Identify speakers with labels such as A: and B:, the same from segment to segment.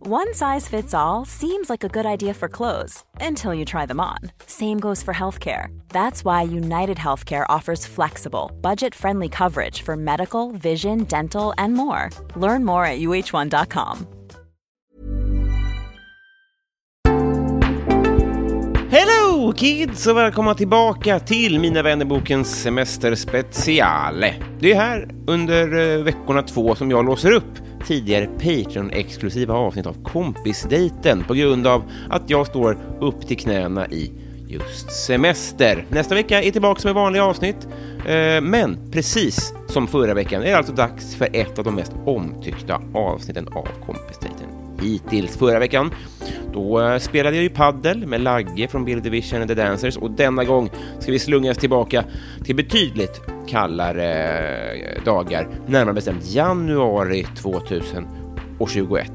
A: One size fits all seems like a good idea for clothes until you try them on. Same goes for healthcare. That's why United Healthcare offers flexible, budget friendly coverage for medical, vision, dental, and more. Learn more at uh1.com.
B: Hello kids och välkomna tillbaka till Mina vännerbokens semesterspecial. Det är här under eh, veckorna två som jag låser upp tidigare Patreon-exklusiva avsnitt av Kompisdejten på grund av att jag står upp till knäna i just semester. Nästa vecka är tillbaka med vanliga avsnitt, eh, men precis som förra veckan är det alltså dags för ett av de mest omtyckta avsnitten av Kompisdejten hittills. Förra veckan då eh, spelade jag ju paddel med Lagge från Bill Division and the Dancers och denna gång ska vi slungas tillbaka till betydligt kallare eh, dagar, närmare bestämt januari 2021.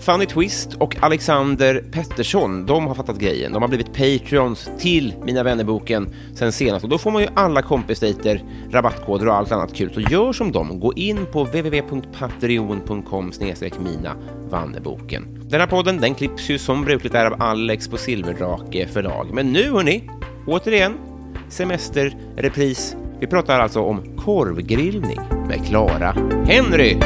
B: Fanny Twist och Alexander Pettersson, de har fattat grejen. De har blivit Patreons till Mina vännerboken sen senast och då får man ju alla kompisdejter, rabattkoder och allt annat kul. Så gör som dem, gå in på www.patreon.com mina vannerboken. Den här podden den klipps ju som brukligt är av Alex på Silverdrake förlag. Men nu hörni, återigen semesterrepris. Vi pratar alltså om korvgrillning med Klara Henry.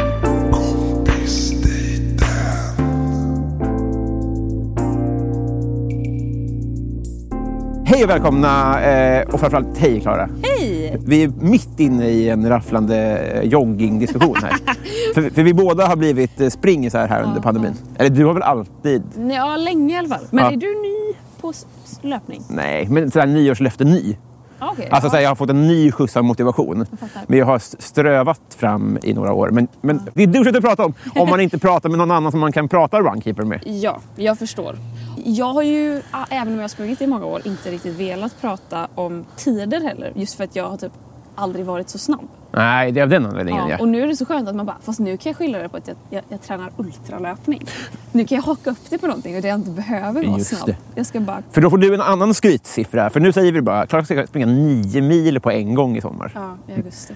C: Hej och välkomna eh, och framförallt hej Klara. Hej! Vi är mitt inne i en rafflande eh, joggingdiskussion här. för, för vi båda har blivit eh, springisar här under pandemin. Eller du har väl alltid?
D: Ja, länge i alla fall. Men
C: Ja.
D: är du ny på s- s- löpning?
C: Nej, men sådär nyårslöfte ny.
D: Ah, okej.
C: Alltså
D: ja.
C: såhär, jag har fått en ny skjuts av motivation.
D: fattar.
C: Men jag har s- strövat fram i några år. Men, men det är du som prata om. Om man inte pratar med någon annan som man kan prata runkeeper med.
D: ja, jag förstår. Jag har ju, ä- även om jag har sprungit i många år, inte riktigt velat prata om tider heller. Just för att jag har typ aldrig varit så snabb.
C: Nej, det är av den anledningen ja.
D: Och nu är det så skönt att man bara, fast nu kan jag skylla det på att jag, jag, jag tränar ultralöpning. Nu kan jag haka upp det på någonting och det jag inte behöver vara
C: Just
D: snabb.
C: det.
D: Jag ska bara,
C: För då får du en annan skrytsiffra. För nu säger vi bara Klara ska springa nio mil på en gång i sommar.
D: ja, i augusti.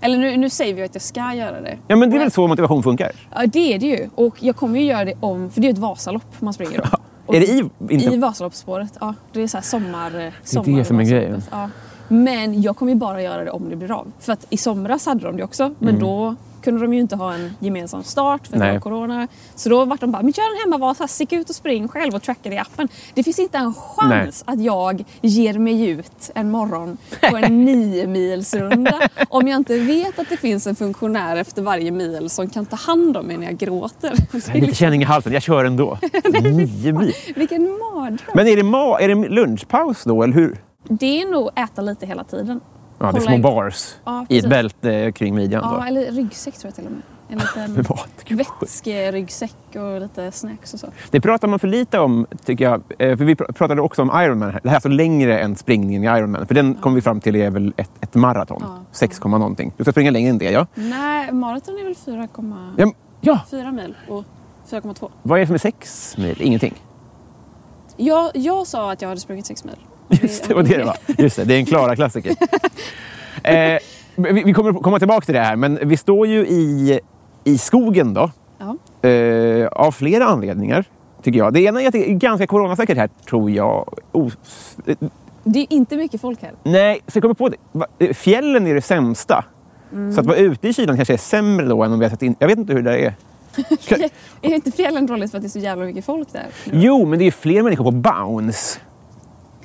D: Eller nu, nu säger vi ju att jag ska göra det.
C: Ja, men det är väl så motivation funkar?
D: Ja, det är det ju. Och jag kommer ju göra det om, för det är ju ett Vasalopp man springer om. Och
C: Är det i, inte,
D: I Vasaloppsspåret, ja. Det är så här sommar...
C: som är
D: sommar-
C: grejen.
D: Ja. Men jag kommer ju bara göra det om det blir av. För att i somras hade de det också, men då kunde de ju inte ha en gemensam start för att
C: Mm. Nej.
D: det var corona. Så då vart de bara, men kör en hemmavasa, stick ut och spring själv och tracka det i appen. Det finns inte en chans att jag ger mig ut en morgon på en niomilsrunda om jag inte vet att det finns en funktionär efter varje mil som kan ta hand om mig när jag gråter.
C: Jag har lite känning i halsen, jag kör ändå. Nio mil.
D: Vilken mardröm!
C: Men är det, ma- är det lunchpaus då, eller hur?
D: Det är nog äta lite hela tiden.
C: Ja, det är
D: Hålla
C: små
D: i-
C: bars
D: Ja,
C: i ett
D: precis.
C: bälte kring midjan.
D: Ja,
C: Då.
D: eller ryggsäck tror jag till och med. En liten
C: Med mat.
D: vätskeryggsäck och lite snacks och så.
C: Det pratar man för lite om, tycker jag. Eh, För vi pr- pratade också om Ironman. här. Det här är alltså längre än springningen i Ironman. För den kom vi fram till är väl ett, ett maraton.
D: Ja.
C: 6, komma någonting. Du ska springa längre än det, ja.
D: Nej, maraton är väl 4,4
C: Ja, ja.
D: mil och 4,2.
C: Vad är det som är sex mil? Ingenting.
D: Jag, jag sa att jag hade sprungit 6 mil.
C: Just det, vad det var. Just det, det är en Klara-klassiker. eh, vi, vi kommer komma tillbaka till det här, men vi står ju i, i skogen då.
D: Ja.
C: Eh, av flera anledningar, tycker jag. Det ena är att det är ganska coronasäkert här, tror jag. Os- eh,
D: Det är inte mycket folk här.
C: nej, så jag kommer på det. Va- eh, Fjällen är det sämsta.
D: Mm.
C: Så att vara ute i kylan kanske är sämre då än om vi har satt in... Jag vet inte hur det där är. Kan-
D: Är inte fjällen dåligt för att det är så jävla mycket folk där?
C: Jo, men det är ju fler människor på Bounce.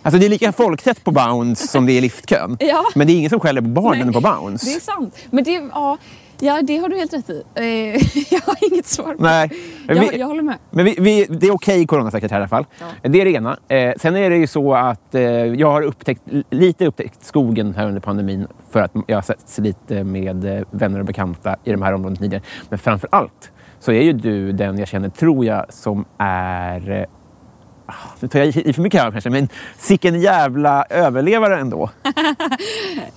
C: Alltså det är lika folktätt på Bounce som det är i liftkön.
D: Ja.
C: Men det är ingen som skäller på barnen
D: Nej,
C: på Bounce.
D: Det är sant. Men det, ja, ja, det har du helt rätt i. Eh, Jag har inget svar. på
C: Nej.
D: det.
C: Vi-
D: Jag, jag håller med.
C: Men vi, vi, det är okej coronasäkert här i alla fall.
D: Ja.
C: Det är det ena. Eh, sen är det ju så att eh, jag har upptäckt, lite upptäckt skogen här under pandemin för att jag har setts lite med eh, vänner och bekanta i de här områdena tidigare. Men framför allt så är ju du den jag känner, tror jag, som är... eh, ah, Nu tar jag i för mycket här kanske, men sicken jävla överlevare ändå.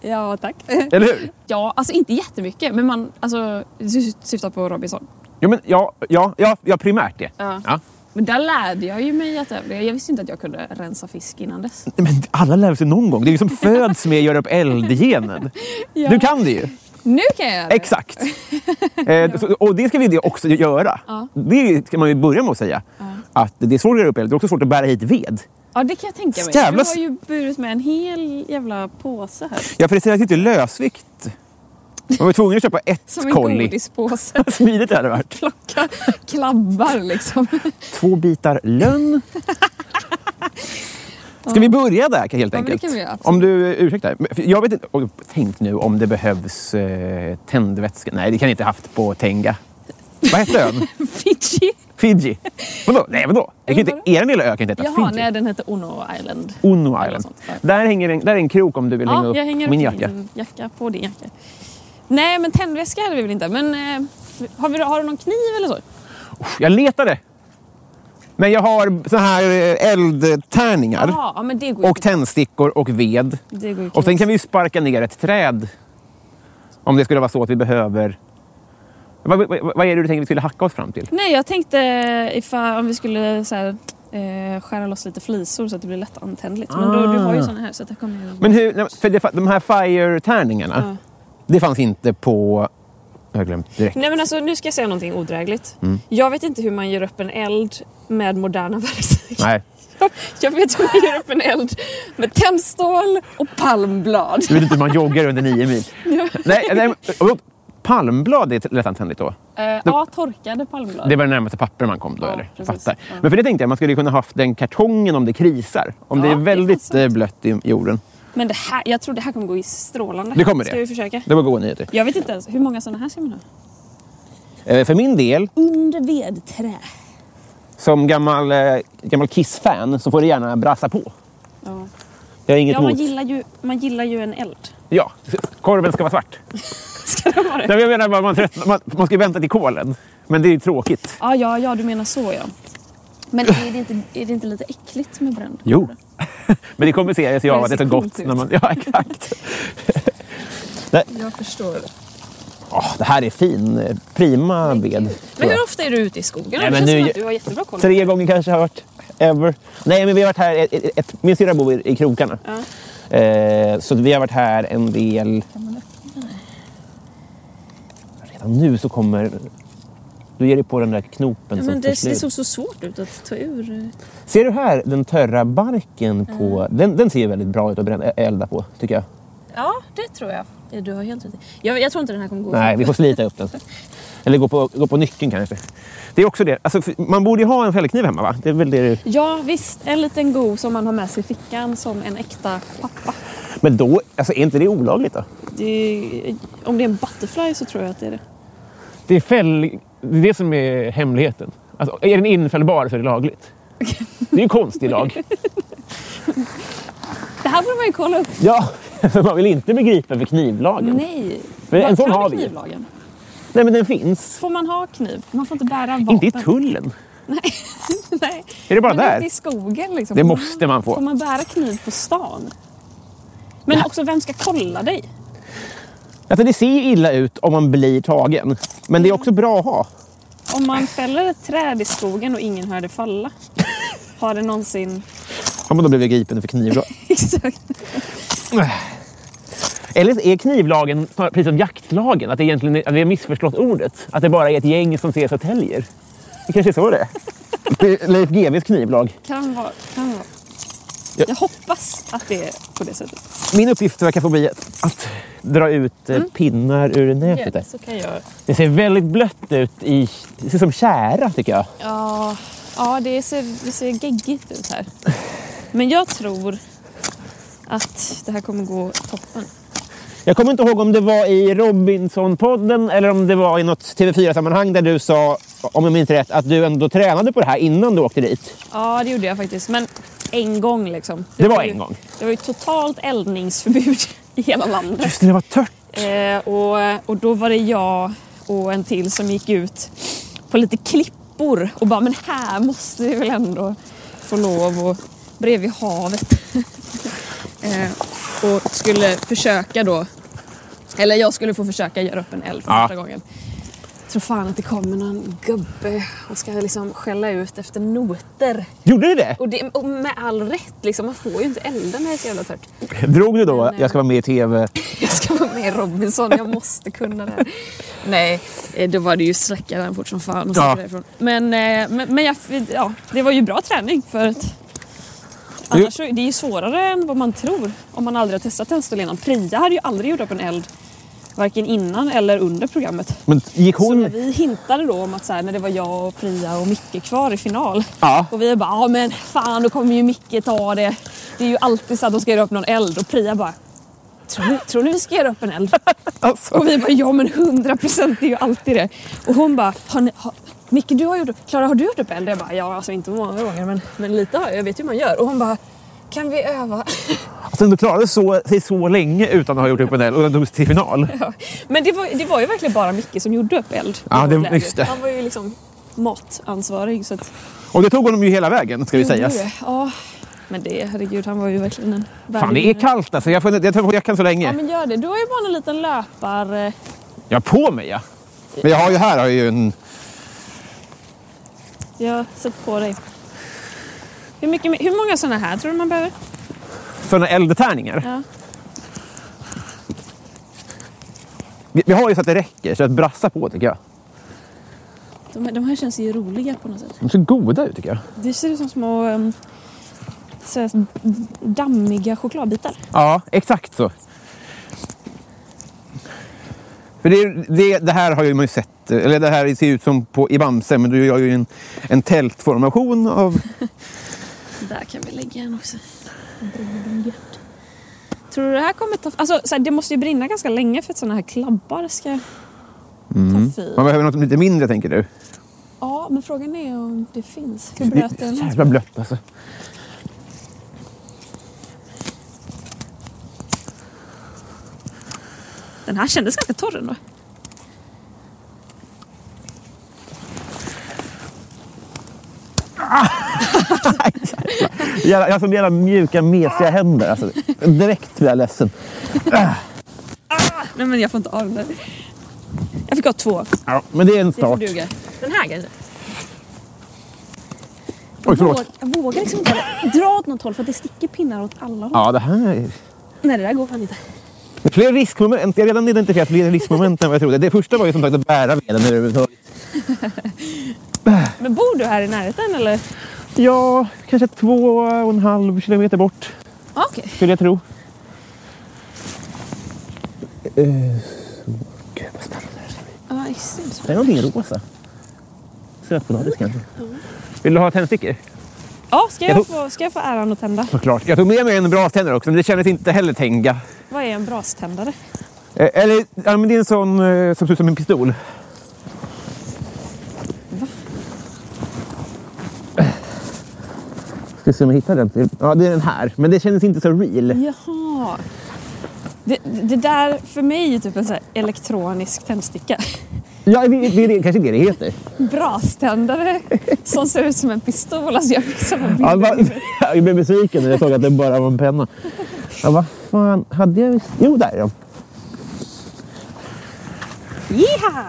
D: Ja, tack.
C: Eller hur?
D: ja, alltså inte jättemycket, men man... Alltså, du syftar på Robinson.
C: Jo, men ja, ja, ja, ja primärt det.
D: Ja.
C: Ja.
D: Men där lärde jag ju mig att överleva. Jag visste inte att jag kunde rensa fisk innan dess.
C: Men alla lär sig någon gång. Det är ju som föds med att göra upp eldgenen.
D: Ja.
C: Du kan det ju.
D: Nu kan jag göra det.
C: Exakt. Eh, så, och det ska vi också göra.
D: Ja.
C: Det ska man ju börja med att säga. Att det är svårt att göra upp eld. Det är också svårt att bära hit ved.
D: Ja, det kan jag tänka mig.
C: Jävla
D: Du har ju burit med en hel jävla påse här.
C: Ja, för det säljer ju inte lösvikt. Man var tvungen att köpa ett
D: Som en
C: kolli.
D: godispåse.
C: Smidigt hade det varit.
D: Plocka klabbar liksom.
C: Två bitar lönn. Ska vi börja där helt
D: det
C: enkelt?
D: kan vi göra,
C: om du ursäktar. Men, för Jag vet inte, och tänk nu om det behövs eh, tändvätska. Nej, det kan jag inte haft på Tenga. Vad hette ön?
D: Fiji.
C: Fiji. Vadå? Nej, vadå? Jag kan
D: Eller
C: inte, er lilla ö kan inte heta
D: Jaha,
C: Fiji.
D: nej den heter Ono Island.
C: Ono
D: Eller
C: Island.
D: sånt, ja.
C: Där, hänger en, där är en krok om du vill hänga
D: Ja,
C: upp
D: jag hänger
C: min
D: upp
C: jacka.
D: min jacka på din jacka. Nej, men tändväska hade vi väl inte. Men eh, har, vi, har du någon kniv eller så?
C: Jag letade. Men jag har såna här eh, eldtärningar.
D: Jaha, ja, men det går ju
C: Och tändstickor och ved.
D: Ah, Det går ju
C: Och sen
D: knappt.
C: kan vi ju sparka ner ett träd. Om det skulle vara så att vi behöver... Vad, vad, vad är det du tänker vi skulle hacka oss fram till?
D: Nej, jag tänkte ifall, om vi skulle så här, eh, skära loss lite flisor så att det blir lätt antändligt. Men då, du har ju såna här så att det kommer ju...
C: Ah. Men hur, nej, för det, de här fire-tärningarna,
D: Ja.
C: det fanns inte på... Jag har glömt direkt.
D: Nej men alltså nu ska jag säga någonting odrägligt.
C: Mm.
D: Jag vet inte hur man gör upp en eld med moderna verktyg.
C: Nej.
D: Jag vet hur man gör upp en eld med tändstål och palmblad.
C: Du vet inte hur man joggar under nio mil. nej, nej, men- palmblad är lättantändligt då?
D: Eh, ja, torkade palmblad.
C: Det var det närmaste papper man kom då,
D: Ja,
C: eller? Jag
D: precis.
C: Fattar.
D: Ja.
C: Men för det tänkte jag, man skulle kunna haft den kartongen om det krisar. Om
D: Ja,
C: det är
D: det är
C: väldigt
D: sant.
C: eh, blött i jorden.
D: Men det här, jag tror det här kommer gå i strålande.
C: Det kommer
D: Ska
C: det.
D: vi försöka?
C: Det var goda nyheter.
D: Jag vet inte ens, hur många såna här ska man ha?
C: Eh, För min del,
D: Under vedträ.
C: som gammal, eh, gammal Kiss-fan, så får det gärna brassa på.
D: Ja,
C: Jag har inget
D: ja man,
C: emot.
D: gillar ju, man gillar ju en eld.
C: Ja, korven ska vara svart.
D: Ska det vara det?
C: Nej, men Jag menar bara, man, trött, man, man ska ju vänta till kolen. Men det är ju tråkigt.
D: Ja, ja, ja, du menar så ja. Men är det inte, är det inte lite äckligt med bränd?
C: Jo. Men det kompenseras ju av
D: Det
C: att det är så
D: ser
C: gott.
D: coolt ut.
C: När man, ja, exakt.
D: Jag förstår.
C: Åh, det här är fin. eh, Prima ved.
D: Men hur ofta är du ute i skogen?
C: Nej,
D: det
C: men
D: känns
C: nu-
D: som att du har jättebra koll.
C: Tre gånger kanske har jag varit. Ever. Nej, men vi har varit här. Ett, ett, ett, min syrra bor i, i krokarna. Eh, så vi har varit här en del. Redan nu så kommer... Du ger dig på den där knopen
D: Ja,
C: som
D: men det,
C: förslut.
D: det såg så svårt ut att ta ur. eh.
C: Ser du här den törra barken på... Den, den ser ju väldigt bra ut att bränna, eh, elda på, tycker jag.
D: Ja, det tror jag. Ja, du har helt rätt i. jag, jag tror inte den här kommer gå.
C: Nej, vi får slita upp den. Eller gå på, gå på nyckeln kanske. Det är också det. Alltså, för- man borde ju ha en fällkniv hemma, va? Det är väl det du...
D: Ja, visst. En liten go som man har med sig i fickan som en äkta pappa.
C: Men då, alltså, är inte det olagligt då?
D: Det är, om det är en butterfly så tror jag att det är det.
C: Det är fäll... Det är det som är hemligheten. Alltså, är den infällbar så är det lagligt. Det är ju en konstig lag.
D: Det här borde man ju kolla upp.
C: Ja, för man vill inte begripa för knivlagen. Nej,
D: Nej.
C: Men en
D: Vad
C: sån
D: kan
C: har vi ju.
D: knivlagen?
C: men den finns.
D: Får man ha kniv? Man får inte bära vapen.
C: Inte i tullen.
D: Nej.
C: Är det bara
D: Men
C: där?
D: Inte i skogen liksom.
C: Det
D: Får man-
C: måste man
D: Får
C: få.
D: man bära kniv på stan? Men också, vem ska kolla dig?
C: Alltså, det ser ju illa ut om man blir tagen. Men det är också bra att ha.
D: Om man fäller ett träd i skogen och ingen hör det falla. Har det någonsin...
C: Ja, men då blev jag gripen för knivlag.
D: Exakt.
C: Eller är knivlagen snarare precis som jaktlagen? Att det egentligen är, att vi har missförstått ordet? Att det bara är ett gäng som ses och täljer? Det kanske är så det är. Det är. Leif GWs knivlag.
D: Kan vara. Kan vara.
C: Ja.
D: Jag hoppas att det är på det sättet.
C: Min uppgift verkar få bli att dra ut
D: Mm.
C: eh, pinnar ur nätet. där.
D: Så kan jag...
C: Det ser väldigt blött ut. I, det ser som kära tycker jag.
D: Ja, ja det, ser, det ser geggigt ut här. Men jag tror att det här kommer gå toppen.
C: Jag kommer inte ihåg om det var i Robinson-podden eller om det var i något TV4-sammanhang där du sa, om jag minns rätt, att du ändå tränade på det här innan du åkte dit.
D: Ja, det gjorde jag faktiskt. Men en gång liksom.
C: Det var
D: ju,
C: en gång.
D: Det var ju totalt eldningsförbud i hela landet.
C: Just det, det var tört.
D: Eh, och, och då var det jag och en till som gick ut på lite klippor och bara men här måste vi väl ändå få lov och bredvid havet. eh, och skulle försöka då, eller jag skulle få försöka göra upp en eld för
C: Ja.
D: första gången. Jag tror fan att det kommer någon gubbe och ska liksom skälla ut efter noter.
C: Gjorde du det?
D: Och, det, och med all rätt, liksom, man får ju inte elda när det är så jävla torrt.
C: Drog du då
D: Men, eh,
C: jag ska vara med i tv?
D: Jag ska vara med i Robinson, jag måste kunna det här. Nej, eh, då var det ju släcka den fort som fan och
C: Ja.
D: ja. därifrån. Men, eh, men, men jag, ja, det var ju bra träning för att annars så, det är ju svårare än vad man tror om man aldrig har testat eldstål innan. Priya hade ju aldrig gjort upp en eld varken innan eller under programmet.
C: Men gick
D: Så när
C: hon...
D: Alltså, vi hintade då om att så här, när det var jag och Priya och Micke kvar i final.
C: Ja.
D: Och vi bara, ja men fan då kommer ju Micke ta det. Det är ju alltid så att de ska göra upp någon eld och Priya bara, tror ni, tror ni vi ska göra upp en eld?
C: Alltså.
D: Och vi bara, ja men 100 procent, det är ju alltid det. Och hon bara, har ni, har, Micke du har gjort upp, Klara har du gjort upp eld? Jag bara, ja alltså inte många gånger men, men lite har jag, jag vet hur man gör. Och hon bara, kan vi öva?
C: Att Alltså, hon klarade så, sig så länge utan att ha gjort upp en del och den togs till final.
D: Ja. Men det var, det var ju verkligen bara Micke som gjorde upp eld. i
C: Ja,
D: vårt
C: det-
D: läger.
C: just det.
D: Han var ju liksom matansvarig så att
C: Och det tog honom ju hela vägen ska ju sägas.
D: Ja, men det, herregud, han var ju verkligen en
C: Fan, det är kallt alltså. Jag får, jag tar på jackan så
D: Ja,
C: länge.
D: men gör det. Du har ju bara en liten löpar...
C: Jag har på mig ja. Men jag har ju här har jag ju en...
D: Jag sett på dig. Hur, mycket, hur många sådana här tror du man behöver?
C: sådana eldtärningar.
D: Ja.
C: Vi, vi har ju så att det räcker, så att brassa på tycker jag.
D: De, de här känns ju roliga på något sätt.
C: De ser goda ut tycker jag.
D: Det ser ut som små ehm, så här, dammiga chokladbitar.
C: Ja, exakt så. För det, är- det, det här har ju man ju sett, eller det här ser ut som på, i Bamse, men du gör ju en, en tältformation av...
D: Där kan vi lägga en också. Då brinner de gött. Tror du det här kommer ta... Alltså, så här, det måste ju brinna ganska länge för att sådana här klabbar ska ta fyr.
C: Man behöver något lite mindre tänker du.
D: Ja, men frågan är om det finns. Hur blöt
C: Det är
D: den
C: så
D: är.
C: jävla blött alltså.
D: Den här kändes ganska torr ändå.
C: Jävla, jag har så jävla mjuka, mesiga händer. Alltså. Direkt blir jag ledsen.
D: Nej men jag får inte av den där. Jag fick ha två.
C: Ja, men det är en
D: Det får
C: start.
D: duga. Den här kanske?
C: Oj, förlåt.
D: Våg- Jag vågar liksom inte hålla- dra åt något håll för att det sticker pinnar åt alla håll.
C: Ja, det här är...
D: Nej det där går fan inte.
C: Det är fler riskmoment. Jag har redan identifierat fler riskmoment än vad jag trodde. Det första var ju som sagt att bära veden överhuvudtaget.
D: Men bor du här i närheten eller?
C: Ja, kanske två och en halv kilometer bort
D: Ja, Okej.
C: skulle jag tro. Eh, så. Gud vad spännande det här ska bli.
D: Ja, extremt
C: Det är någonting rosa. Sötpotatis kanske. Vill du ha tändstickor?
D: Ja, ska
C: Jag
D: jag,
C: tog-
D: få, ska jag få äran att tända?
C: Såklart. Jag tog med mig en braständare också men det kändes inte heller tänga.
D: Vad är en braständare?
C: Eh, eller, ja, men det är en sån eh, som ser ut som en pistol. Ska se om jag hittar den. Ja, det är den här. Men det kändes inte så real.
D: Jaha. Det, det där för mig är typ en sån här elektronisk tändsticka.
C: Ja, det, det, det kanske det det heter.
D: Braständare som ser ut som en pistol. Alltså jag fick såna bilder.
C: Ja, va, jag blev besviken när jag såg att det bara var en penna. Ja, vad fan hade jag... visst- Jo, där är de.
D: Jiha!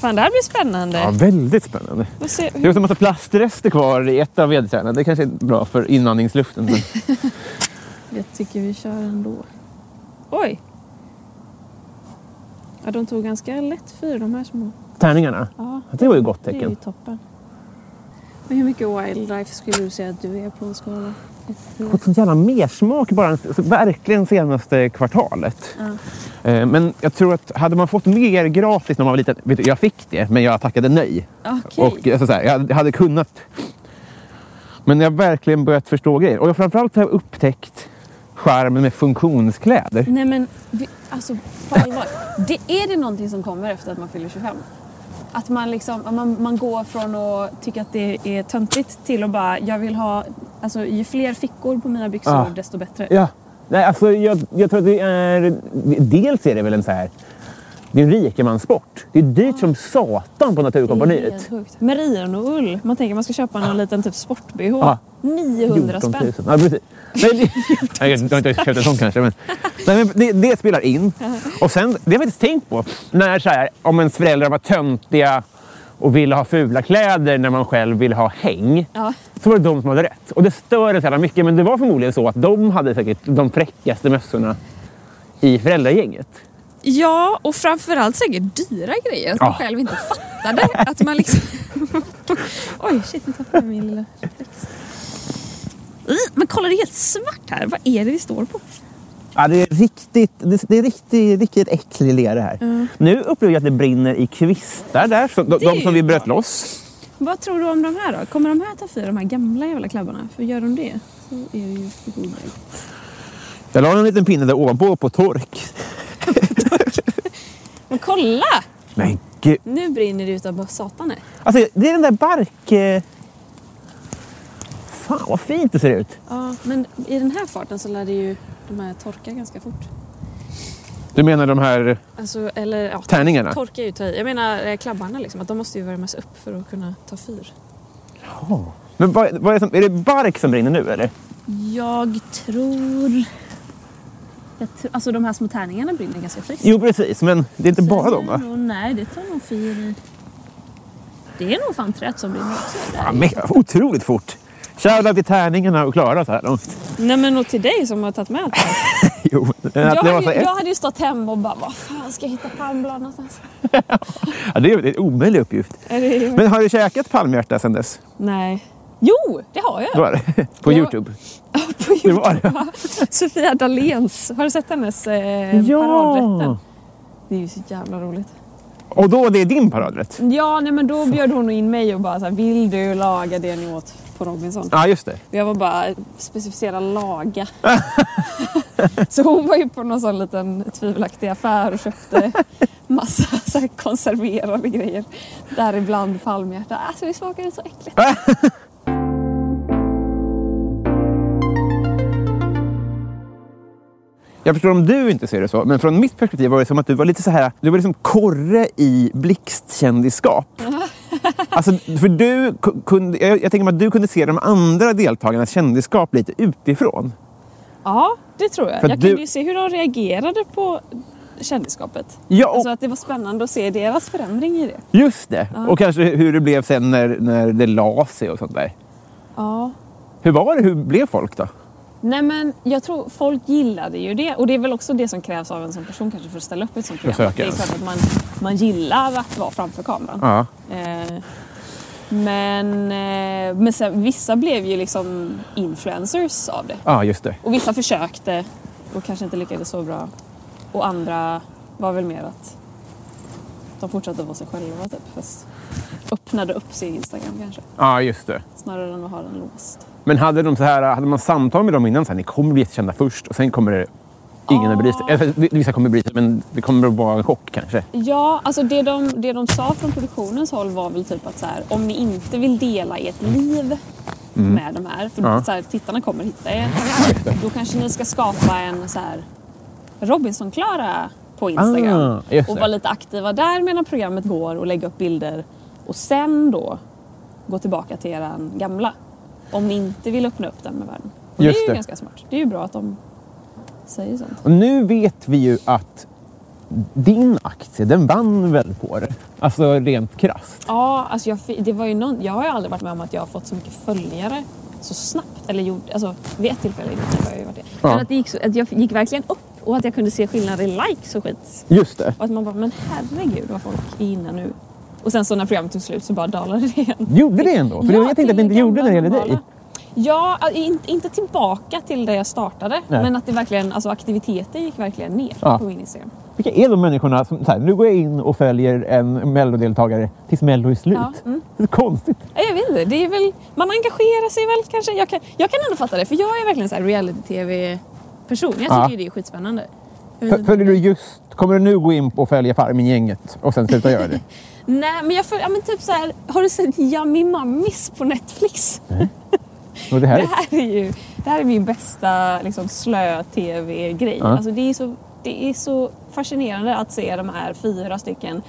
D: Fan, det här blir spännande.
C: Ja, väldigt spännande.
D: Vad ser-
C: Det är också en massa plastrester kvar i ett av vedträden. Det kanske är bra för inandningsluften. Men...
D: Jag tycker vi kör ändå. Oj! Ja, de tog ganska lätt fyr de här små.
C: Tärningarna.
D: Ja,
C: Det var ju gott
D: det är ju
C: tecken.
D: toppen. Men hur mycket wildlife skulle du säga att du är på en skala?
C: fått sån jävla mersmak bara en- så verkligen senaste kvartalet. Eh, Men jag tror att hade man fått mer gratis när man var liten. Vet du, jag fick det, men jag tackade nej.
D: Okej.
C: Och alltså, så här, jag hade kunnat. Men jag har verkligen börjat förstå grejer. Och jag framförallt har jag upptäckt charmen med funktionskläder.
D: Nej men, vi, alltså på allvar. Det, är det någonting som kommer efter att man fyller 25? Att man, liksom, att man, man går från att tycka att det är töntigt till att bara, jag vill ha, alltså ju fler fickor på mina byxor
C: Ah.
D: desto bättre.
C: Ja. Nej, alltså, jag, jag tror att det är... Dels är det väl en så här... Det är en rikemanssport. Det är dyrt som satan på Naturkompaniet.
D: Helt sjukt. Merino och ull. Man tänker man ska köpa någon liten typ sport-bh.
C: Ja.
D: 900 spänn.
C: Ja, precis. Nej, det, Nej, jag har inte köpt en sån kanske. Men, Nej, men det, det spelar in. Och sen, det har jag faktiskt tänkt på. När så här, om ens föräldrar var töntiga och ville ha fula kläder när man själv ville ha häng.
D: Ja.
C: Så var det de som hade rätt. Och det stör en så jävla mycket. Men det var förmodligen så att de hade säkert de fräckaste mössorna i föräldragänget.
D: ja, och framförallt säkert dyra grejer. Att man
C: Ja.
D: själv inte fattade. att man liksom... Oj, shit, nu tappade jag min lilla text. Ih, Men kolla, det är helt svart här. Vad är det vi står på?
C: Ja, det är riktigt, det, det är riktigt, riktigt äcklig lera här. Nu upplever jag att det brinner i kvistar där. Så de, de som
D: är ju
C: vi bröt loss.
D: Vad tror du om de här då? Kommer de här ta fyra, de här gamla jävla klabbarna? För gör de det så är det ju på god väg.
C: Jag la en liten pinne där ovanpå på tork.
D: Men kolla!
C: Men gud.
D: Nu brinner det utav bara satan här.
C: Alltså, det är den där bark... eh, Fan vad fint det ser ut.
D: Ja, men i den här farten så lär det ju de här torka ganska fort.
C: Du menar de här...
D: Alltså, eller ja,
C: Tärningarna?
D: Torka är ju ta i. Jag menar eh, klabbarna liksom, att de måste ju värmas upp för att kunna ta fyr.
C: Men vad, vad är, det som, är det bark som brinner nu eller?
D: Jag tror... Jag tr... Alltså de här små tärningarna brinner ganska friskt.
C: Jo precis, men det är inte bara dem va?
D: Nej, det tar nog fyr i... Det är nog fan träet som brinner också.
C: Ja, men, otroligt fort. Shoutout till tärningarna och Klara så här långt.
D: Nej men nog till dig som har tagit med allt.
C: Jo, men att
D: Jag,
C: det var så
D: hade, ju-
C: ett-
D: jag hade ju stått hemma och bara vad fan ska jag hitta palmblad någonstans?
C: ja, det är en omöjlig uppgift.
D: Är det...
C: Men har du käkat palmhjärta sedan dess?
D: Nej. Jo, det har jag.
C: Det var det. På
D: Ja.
C: Youtube?
D: På
C: Det var det.
D: Sofia Dalens. Har du sett hennes eh, paradrätten? Det är ju så jävla roligt.
C: Och då, det är din paradrätt?
D: Ja, nej, men då bjöd hon in mig och bara så här, vill du laga det ni åt på Robinson?
C: Ja, just det.
D: Jag var bara specificera laga. så hon var ju på någon sån liten tvivelaktig affär och köpte massa så här konserverade grejer. Däribland palmhjärta. Alltså det smakade så äckligt.
C: Jag förstår om du inte ser det så, men från mitt perspektiv var det som att du var lite så här, du var liksom korre i blixtkändisskap. Alltså, för du ku- kunde, jag, jag tänker mig att du kunde se de andra deltagarnas kändisskap lite utifrån.
D: Ja, det tror jag.
C: För
D: jag
C: du-
D: kunde ju se hur de reagerade på kändisskapet.
C: Ja, och,
D: Alltså att det var spännande att se deras förändring i det.
C: just det. Och kanske hur det blev sen när, när det la sig och sånt där.
D: Ja.
C: Hur var det? Hur blev folk då?
D: Nej men jag tror folk gillade ju det och det är väl också det som krävs av en sån person kanske för att ställa upp i ett sånt program.
C: Försöker.
D: Det är klart att man, man gillar att vara framför kameran.
C: Ja.
D: Eh, men eh, men sen, vissa blev ju liksom influencers av det.
C: Ja, just det.
D: Och vissa försökte och kanske inte lyckades så bra. Och andra var väl mer att de fortsatte vara sig själva typ. Fast öppnade upp sin Instagram kanske.
C: Ja, just det.
D: Snarare än att ha den låst.
C: Men hade, de så här, hade man samtal med dem innan, så här, ni kommer bli jättekända först och sen kommer det, ingen att
D: Ah.
C: bry sig. Eller, Vissa kommer bry sig, men det kommer att vara en chock kanske.
D: Ja, alltså det de, det de sa från produktionens håll var väl typ att så här, om ni inte vill dela ert liv med de här, för
C: Mm. Ja.
D: så här, tittarna kommer hitta er, då kanske ni ska skapa en så här Robinson-Klara på Instagram
C: Ah, just
D: och
C: det.
D: vara lite aktiva där medan programmet går och lägga upp bilder och sen då gå tillbaka till eran gamla om ni inte vill öppna upp den med världen. Och
C: Just
D: det är ju
C: det.
D: ganska smart. Det är ju bra att de säger sånt.
C: Och nu vet vi ju att din aktie, den vann väl på det? Alltså rent krasst.
D: Ja, alltså jag, fi- det var ju någon, jag har ju aldrig varit med om att jag har fått så mycket följare så snabbt. Eller gjort, alltså, vid ett tillfälle har jag ju varit det.
C: Ja.
D: Men att, det gick så, att jag gick verkligen upp och att jag kunde se skillnad i likes och skit.
C: Just det.
D: Och att man bara, men herregud vad folk är inne nu. Och sen så när programmet tog slut så bara dalade det igen.
C: Gjorde det ändå? För det var- jag
D: till
C: tänkte att det inte gjorde
D: gamla
C: när det gäller dig.
D: normala. Ja, alltså, in, inte tillbaka till där jag startade.
C: Nej.
D: Men att det verkligen, alltså aktiviteten gick verkligen ner
C: Ja.
D: på min Instagram.
C: Vilka är de människorna som, så här, nu går jag in och följer en mellodeltagare tills mello är slut?
D: Ja, mm.
C: Det är konstigt.
D: Ja, Jag vet inte, det är väl, man engagerar sig väl kanske. Jag kan, jag kan ändå fatta det, för jag är verkligen så här reality-tv-person. Jag tycker
C: Ja.
D: ju det är skitspännande. Jag vet
C: F-
D: inte.
C: Följer du just, kommer du nu gå in och följa Farmen-gänget och sen sluta göra det?
D: Nej, men jag följer, ja, men typ så här, har du sett Yummy Mummies på Netflix?
C: Och det här
D: Det här är ju det här är min bästa liksom, slö-tv-grej.
C: Ja.
D: Alltså, det är så Det är så fascinerande att se de här fyra stycken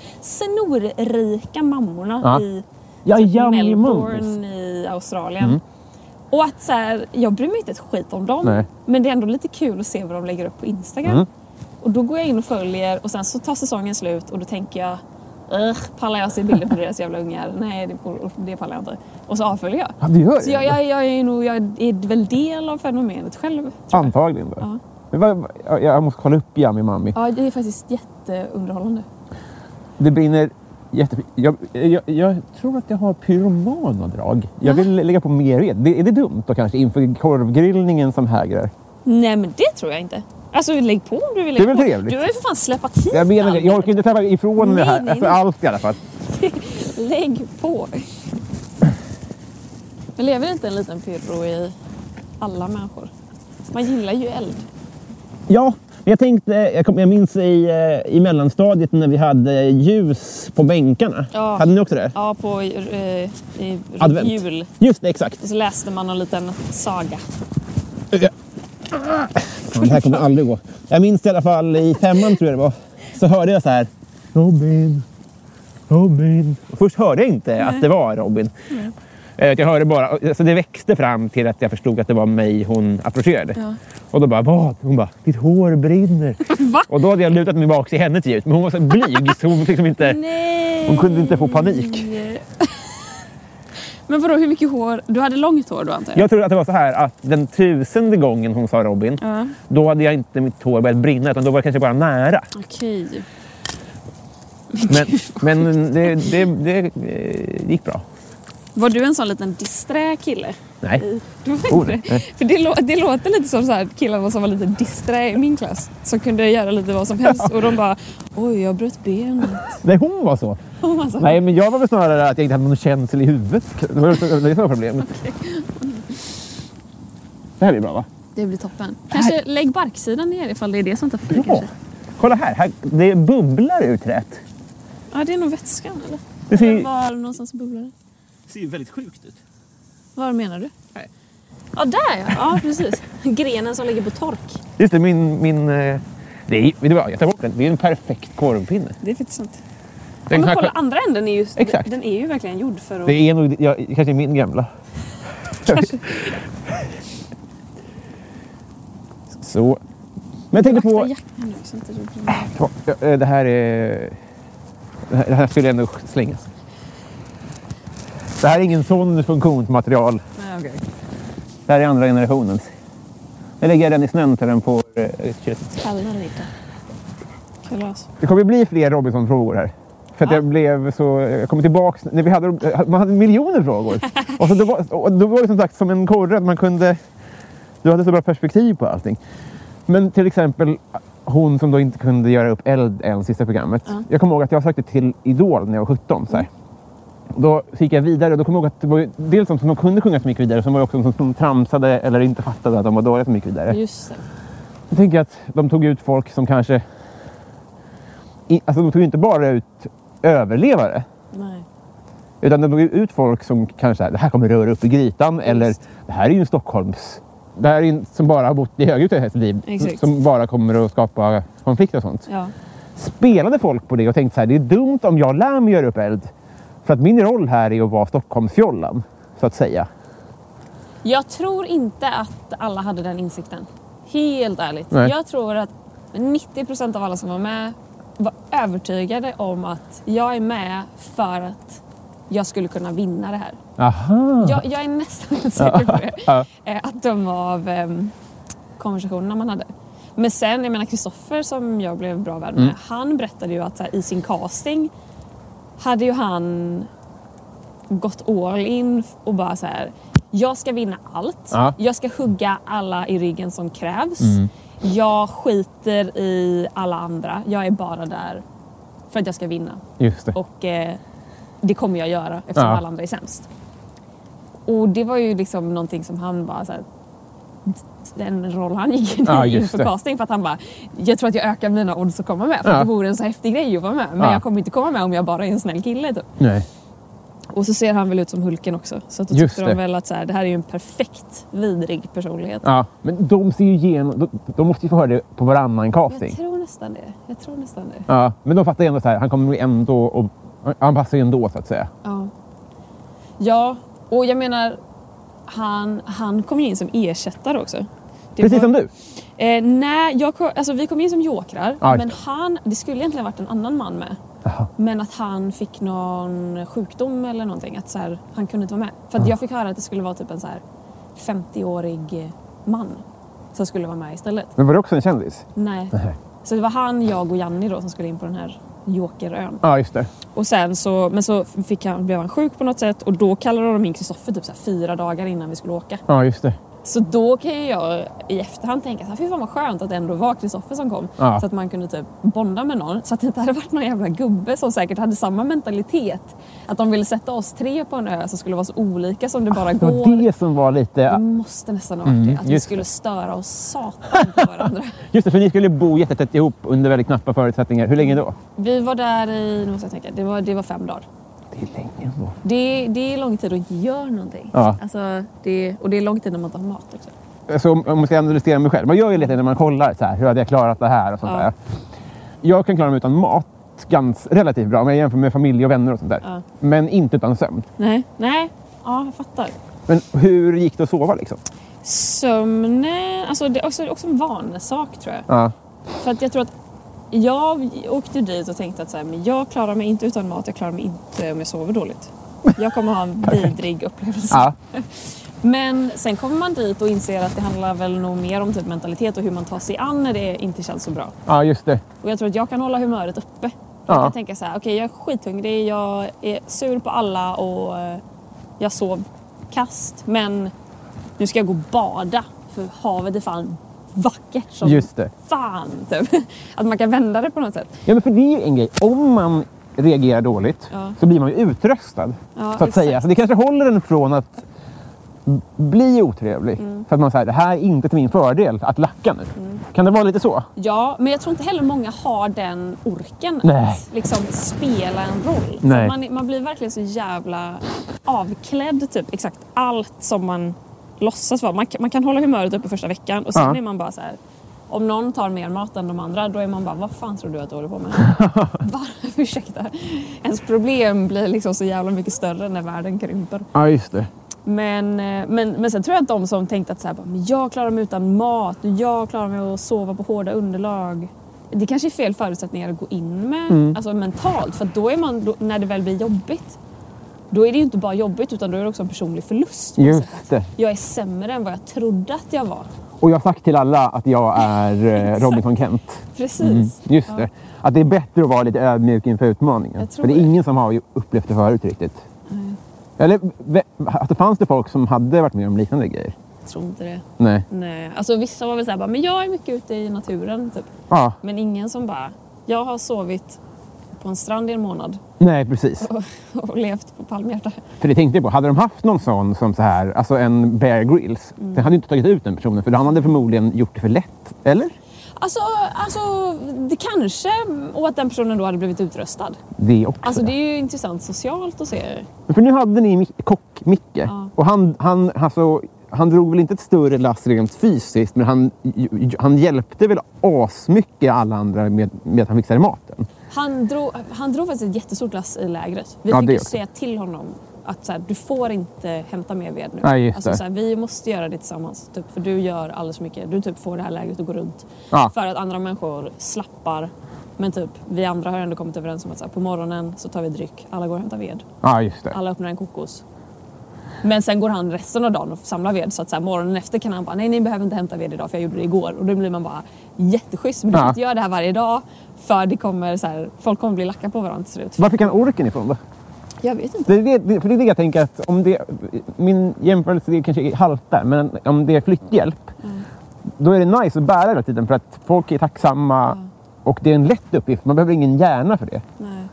D: snorrika mammorna
C: Ja.
D: i
C: Ja,
D: typ
C: ja, men-
D: Melbourne i Australien.
C: Mm.
D: Och att så här, jag bryr mig inte ett skit om dem.
C: Nej. Mm.
D: Men det är ändå lite kul att se vad de lägger upp på Instagram. Och då går jag in och följer och sen så tar säsongen slut och då tänker jag "Ugh, pallar jag se bilder på deras jävla ungar? Nej, det, det pallar jag inte. Och så avföljer jag.
C: Ja, du gör
D: Så
C: det?
D: jag, jag, jag, är nog, jag är väl del av fenomenet själv.
C: Antagligen. Då.
D: Ja.
C: Men vad, vad- jag- jag måste kolla upp Yummy Mummy.
D: Ja, det är faktiskt jätteunderhållande.
C: Det brinner jätte... Jag, jag, jag tror att jag har pyromana drag. Jag vill lägga på mer ved. Det, är det dumt då kanske inför korvgrillningen som hägrar?
D: Nej, men det tror jag inte. Alltså, lägg på om du vill.
C: Det är
D: lägga
C: väl
D: på.
C: trevligt.
D: Du har ju för fan släpat hit
C: Jag menar det. Jag orkar inte släppa ifrån det
D: Nej,
C: här.
D: nej,
C: För
D: nej.
C: allt i alla fall.
D: Lägg på. Men lever inte en liten pyrro i alla människor? Man gillar ju eld.
C: Ja, men jag tänkte, jag, kom, jag minns i, eh, i mellanstadiet när vi hade eh, ljus på bänkarna.
D: Ja.
C: Hade ni också det?
D: Ja, på eh, i
C: Advent.
D: jul.
C: Just det, exakt.
D: Och så läste man en liten saga.
C: Fan, det här kommer aldrig gå. Jag minns i alla fall i femman tror jag det var. Så hörde jag så här. Robin, Robin. Och först hörde jag inte att det var Robin. Eh, Jag hörde bara, så det växte fram till att jag förstod att det var mig hon approcherade. Och då bara, vad? Hon bara, ditt hår brinner.
D: Va?
C: Och då hade jag lutat mig bak i henne till ljud. Men hon var så blyg så hon fick liksom inte...
D: Nej!
C: Hon kunde inte få panik.
D: Men vadå, hur mycket hår? Du hade långt hår då antar jag?
C: Jag tror att det var så här att den tusende gången hon sa Robin,
D: Ja.
C: då hade jag inte mitt hår börjat brinna utan då var det kanske bara nära.
D: Okej.
C: Men, men det, det, det eh, gick bra.
D: Var du en sån liten disträ kille?
C: Nej.
D: Du var inte
C: Oh, nej.
D: det? För det, lå- det låter lite som så här killarna som var lite disträ i min klass. Som kunde göra lite vad som helst och de bara Oj, jag bröt benet.
C: Nej, hon var så.
D: Och man så här,
C: Nej, men jag var väl snarare att jag inte hade någon känsel i huvudet. Det var det som var problemet. Det här blir bra, va?
D: Det blir toppen. Kanske lägg barksidan ner ifall det är det som tar flyg
C: Bra.
D: kanske.
C: Kolla här, här det bubblar ur träet.
D: Ja, det är nog vätskan eller?
C: Det ser ju...
D: Var någonstans bubblar det?
E: ser ju väldigt sjukt ut.
D: Vad menar du? Ja, där ja. Ja, precis. Grenen som ligger på tork.
C: Just det, min... min eh, det är, vet du vad, jag tar bort den. Det är en perfekt korvpinne.
D: Det är faktiskt sant.
C: Den
D: men
C: kan-
D: kolla, andra änden är ju,
C: Exakt.
D: den är ju verkligen gjord för att...
C: det är nog jag, kanske min gamla. så. Men jag tänkte på...
D: Akta jackan nu så inte du blir...
C: Ja, eh, Det här är... Det här- det här skulle ändå slängas. Det här är ingen sån funktionsmaterial.
D: Nej, okej.
C: Det här är andra generationens. Jag lägger den i snön till den får eh, kött.
D: Kalla lite. Kalas.
C: Det kommer bli fler Robinson-frågor här. För att jag blev så... Jag kommer tillbaks... När vi hade, man hade miljoner frågor. Och, så då, var, och då var det som sagt som en korre att man kunde... Du hade så bra perspektiv på allting. Men till exempel hon som då inte kunde göra upp eld än sista programmet. Jag kommer ihåg att jag sökte till Idol när jag var 17. Så här. Och Då så gick jag vidare och då kommer jag ihåg att det var ju dels de som kunde sjunga som gick vidare, sen var det också de som tramsade eller inte fattade att de var dåliga som gick vidare.
D: Just det.
C: Jag tänker att de tog ut folk som kanske... I, alltså de tog ju inte bara ut överlevare.
D: Nej.
C: Utan de tog ju ut folk som kanske, det här kommer röra upp i grytan. Eller det här är ju en Stockholms... Det här är ju en som bara har bott i höghus hela sitt liv.
D: Exakt.
C: Som bara kommer att skapa konflikter och sånt.
D: Ja.
C: Spelade folk på det och tänkte så här, det är dumt om jag lär mig göra upp eld. För att min roll här är att vara Stockholmsfjollan, så att säga.
D: Jag tror inte att alla hade den insikten. Helt ärligt.
C: Nej.
D: Jag tror att 90 procent av alla som var med var övertygade om att jag är med för att jag skulle kunna vinna det här.
C: Aha!
D: Jag, jag är nästan säker på det. Eh, Att döma av ehm, konversationerna man hade. Men sen, jag menar Kristoffer som jag blev bra vän med, han berättade ju att så här, i sin casting hade ju han gått all in f- och bara så här. Jag ska vinna allt.
C: Ja.
D: Jag ska hugga alla i ryggen som krävs. Jag skiter i alla andra. Jag är bara där för att jag ska vinna.
C: Just det.
D: Och eh, det kommer jag göra eftersom
C: Ja.
D: alla andra är sämst. Och det var ju liksom någonting som han bara så här, den roll han gick in i
C: Ja, just
D: inför
C: det.
D: casting för att han bara jag tror att jag ökar mina odds att komma med för
C: Ja.
D: att det vore en så häftig grej att vara med men
C: Ja.
D: jag kommer inte komma med om jag bara är en snäll kille typ.
C: Nej.
D: Och så ser han väl ut som Hulken också så att då
C: Just
D: tyckte de
C: det.
D: väl att så här, det här är ju en perfekt vidrig personlighet.
C: Ja, men de ser ju igenom... De, de måste ju få höra det på varannan casting.
D: Jag tror nästan det. Jag tror nästan det.
C: Ja, men de fattar ju ändå så här, han kommer nog ändå och han- han passar ju ändå så att säga.
D: Ja. Ja, och jag menar, han, han kom ju in som ersättare också. Det
C: Precis
D: var-
C: som du.
D: Eh, nej, jag, ko- alltså, vi kom in som jokrar.
C: Ja, just
D: men han, det skulle egentligen varit en annan man med.
C: Jaha.
D: Men att han fick någon sjukdom eller någonting. Att så här, han kunde inte vara med. För att jag fick höra att det skulle vara typ en så här 50-årig man som skulle vara med istället.
C: Men var det också en kändis?
D: Nej.
C: Nej.
D: Så det var han, jag och Janni då som skulle in på den här jokerön.
C: Ja, just det.
D: Och sen så, men så fick han, blev han sjuk på något sätt och då kallade de in Kristoffer typ så här fyra dagar innan vi skulle åka.
C: Ja, just det.
D: Så då kan ju jag i efterhand tänka så här, fy fan vad skönt att det ändå var Kristoffer som kom.
C: Ja.
D: Så att man kunde typ bonda med någon. Så att det inte hade varit någon jävla gubbe som säkert hade samma mentalitet. Att de ville sätta oss tre på en ö som skulle vara så olika som det bara
C: Det
D: går. Mm.
C: var det som var
D: Det
C: lite...
D: måste nästan ha varit det. Att vi
C: just det.
D: skulle störa oss satan på varandra.
C: Just det, för ni skulle bo jättetätt ihop under väldigt knappa förutsättningar. Hur länge då?
D: Vi var där i, nu måste jag tänka, det var, det var fem dagar.
C: Det är länge ändå.
D: Det, det är lång tid att inte göra någonting.
C: Ja.
D: Alltså, det, och det är lång tid när man inte har mat. Också.
C: Alltså, om om man ska analysera mig själv. Man gör ju lite när man kollar så här, hur hade jag klarat det här och sånt
D: Ja.
C: där. Jag kan klara mig utan mat ganska, relativt bra om jag jämför med familj och vänner och sånt där.
D: Ja.
C: Men inte utan sömn.
D: Nej. Nej, ja, jag fattar.
C: Men hur gick det att sova liksom?
D: Sömnen, alltså det är också, också en vanesak tror jag.
C: Ja.
D: För att jag tror att jag åkte dit och tänkte att så här, men jag klarar mig inte utan mat, jag klarar mig inte om jag sover dåligt. Jag kommer ha en vidrig upplevelse.
C: Ja.
D: Men sen kommer man dit och inser att det handlar väl nog mer om typ mentalitet och hur man tar sig an när det inte känns så bra.
C: ja, just det.
D: Och jag tror att jag kan hålla humöret uppe.
C: Ja.
D: Jag kan tänka så här, okej jag är skithungrig, jag är sur på alla och eh, jag sov kast. Men nu ska jag gå och bada för havet är fan vackert som
C: Just det.
D: fan. Typ. Att man kan vända det på något sätt.
C: Ja, men för det är ju en grej. Om man reagerar dåligt
D: Ja.
C: så blir man ju utröstad.
D: Ja,
C: så att
D: exakt.
C: säga. Så det kanske håller en från att b- bli otrevlig.
D: Mm.
C: För att man säger det här är inte till min fördel att lacka nu. Kan det vara lite så?
D: Ja, men jag tror inte heller många har den orken
C: Nej.
D: att liksom spela en roll. Så
C: Nej.
D: Man, man blir verkligen så jävla avklädd typ exakt allt som man låtsas vara. Man, kan- man kan hålla humöret uppe första veckan och sen
C: Ja.
D: är man bara så här. Om någon tar mer mat än de andra då är man bara vad fan tror du att du håller på med? bara, ursäkta. Ens problem blir liksom så jävla mycket större när världen krymper.
C: Ja, just det.
D: Men, eh, men, men sen tror jag att de som tänkte att så här, bara, men jag klarar mig utan mat, jag klarar mig att sova på hårda underlag. Det kanske är fel förutsättningar att gå in med
C: Mm.
D: alltså mentalt. För att då är man, då, när det väl blir jobbigt, då är det ju inte bara jobbigt utan då är det också en personlig förlust. på något sätt.
C: Just det.
D: Jag är sämre än vad jag trodde att jag var.
C: Och jag har sagt till alla att jag är eh,
D: Exakt.
C: Robinson Kent.
D: Precis.
C: Mm, Just
D: Ja.
C: det. Att det är bättre att vara lite ödmjuk inför utmaningen.
D: Jag tror
C: För det är
D: det.
C: ingen som har ju upplevt det förut riktigt. Eller ve- att det fanns det folk som hade varit med om liknande grejer.
D: Jag tror inte det.
C: Nej.
D: Nej. Alltså, vissa var väl såhär, men jag är mycket ute i naturen. Typ.
C: Ja.
D: Men ingen som bara, jag har sovit på en strand i en månad
C: Nej, precis.
D: och, och levt på palmhjärta.
C: För det tänkte jag på. Hade de haft någon sån som så här, alltså en Bear Grylls.
D: Mm.
C: Den hade ju inte tagit ut den personen för han hade förmodligen gjort det för lätt. Eller?
D: Alltså, alltså, det kanske, och att den personen då hade blivit utröstad.
C: Det också.
D: Alltså det är ju intressant socialt att se.
C: För nu hade ni Mi- kock-Micke. Och han, han, alltså, han drog väl inte ett större lass rent fysiskt men han, ju- ju- han hjälpte väl asmycket alla andra med, med att han fixade maten.
D: Han drog, han drog faktiskt ett jättestort lass i lägret. Vi
C: Ja,
D: fick
C: det
D: ju
C: också.
D: säga till honom att så här, du får inte hämta mer ved nu.
C: Nej, just
D: alltså,
C: det.
D: så här, vi måste göra det tillsammans. Typ, för du gör alldeles för mycket. Du typ får det här lägret att gå runt.
C: Ja.
D: För att andra människor slappar. Men typ, vi andra har ändå kommit överens om att så här, på morgonen så tar vi dryck. Alla går och hämtar ved.
C: Ja, just det.
D: Alla öppnar en kokos. Men sen går han resten av dagen och samlar ved så att så här, morgonen efter kan han bara nej ni behöver inte hämta ved idag för jag gjorde det igår och då blir man bara jätteschysst men du
C: Ja.
D: kan inte göra det här varje dag för det kommer så här, folk kommer bli lacka på varandra till slut.
C: Var fick han orken ifrån då?
D: Jag vet inte.
C: Det är det, det- för det är det jag tänker att om det, min jämförelse det kanske haltar, men om det är flytthjälp då är det nice att bära hela tiden för att folk är tacksamma och det är en lätt uppgift. Man behöver ingen hjärna för det.
D: Nej.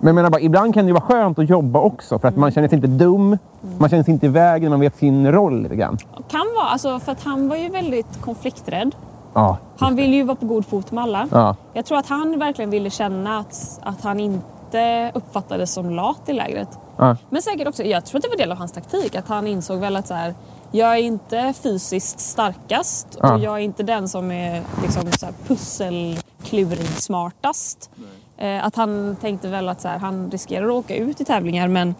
C: Men jag menar bara, ibland kan det ju vara skönt att jobba också för att man känner sig inte dum, man känner sig inte i vägen, man vet sin roll lite grann.
D: Kan vara alltså för att han var ju väldigt konflikträdd.
C: Ja,
D: Han ville ju vara på god fot med alla.
C: Ja.
D: Jag tror att han verkligen ville känna att, att han inte uppfattades som lat i lägret.
C: Ja.
D: Men säkert också, jag tror att det var del av hans taktik, att han insåg väl att så här, jag är inte fysiskt starkast
C: Ja.
D: och jag är inte den som är liksom, så här, pusselklossen klurigsmartast. Eh, att han tänkte väl att så här, han riskerar att åka ut i tävlingar men,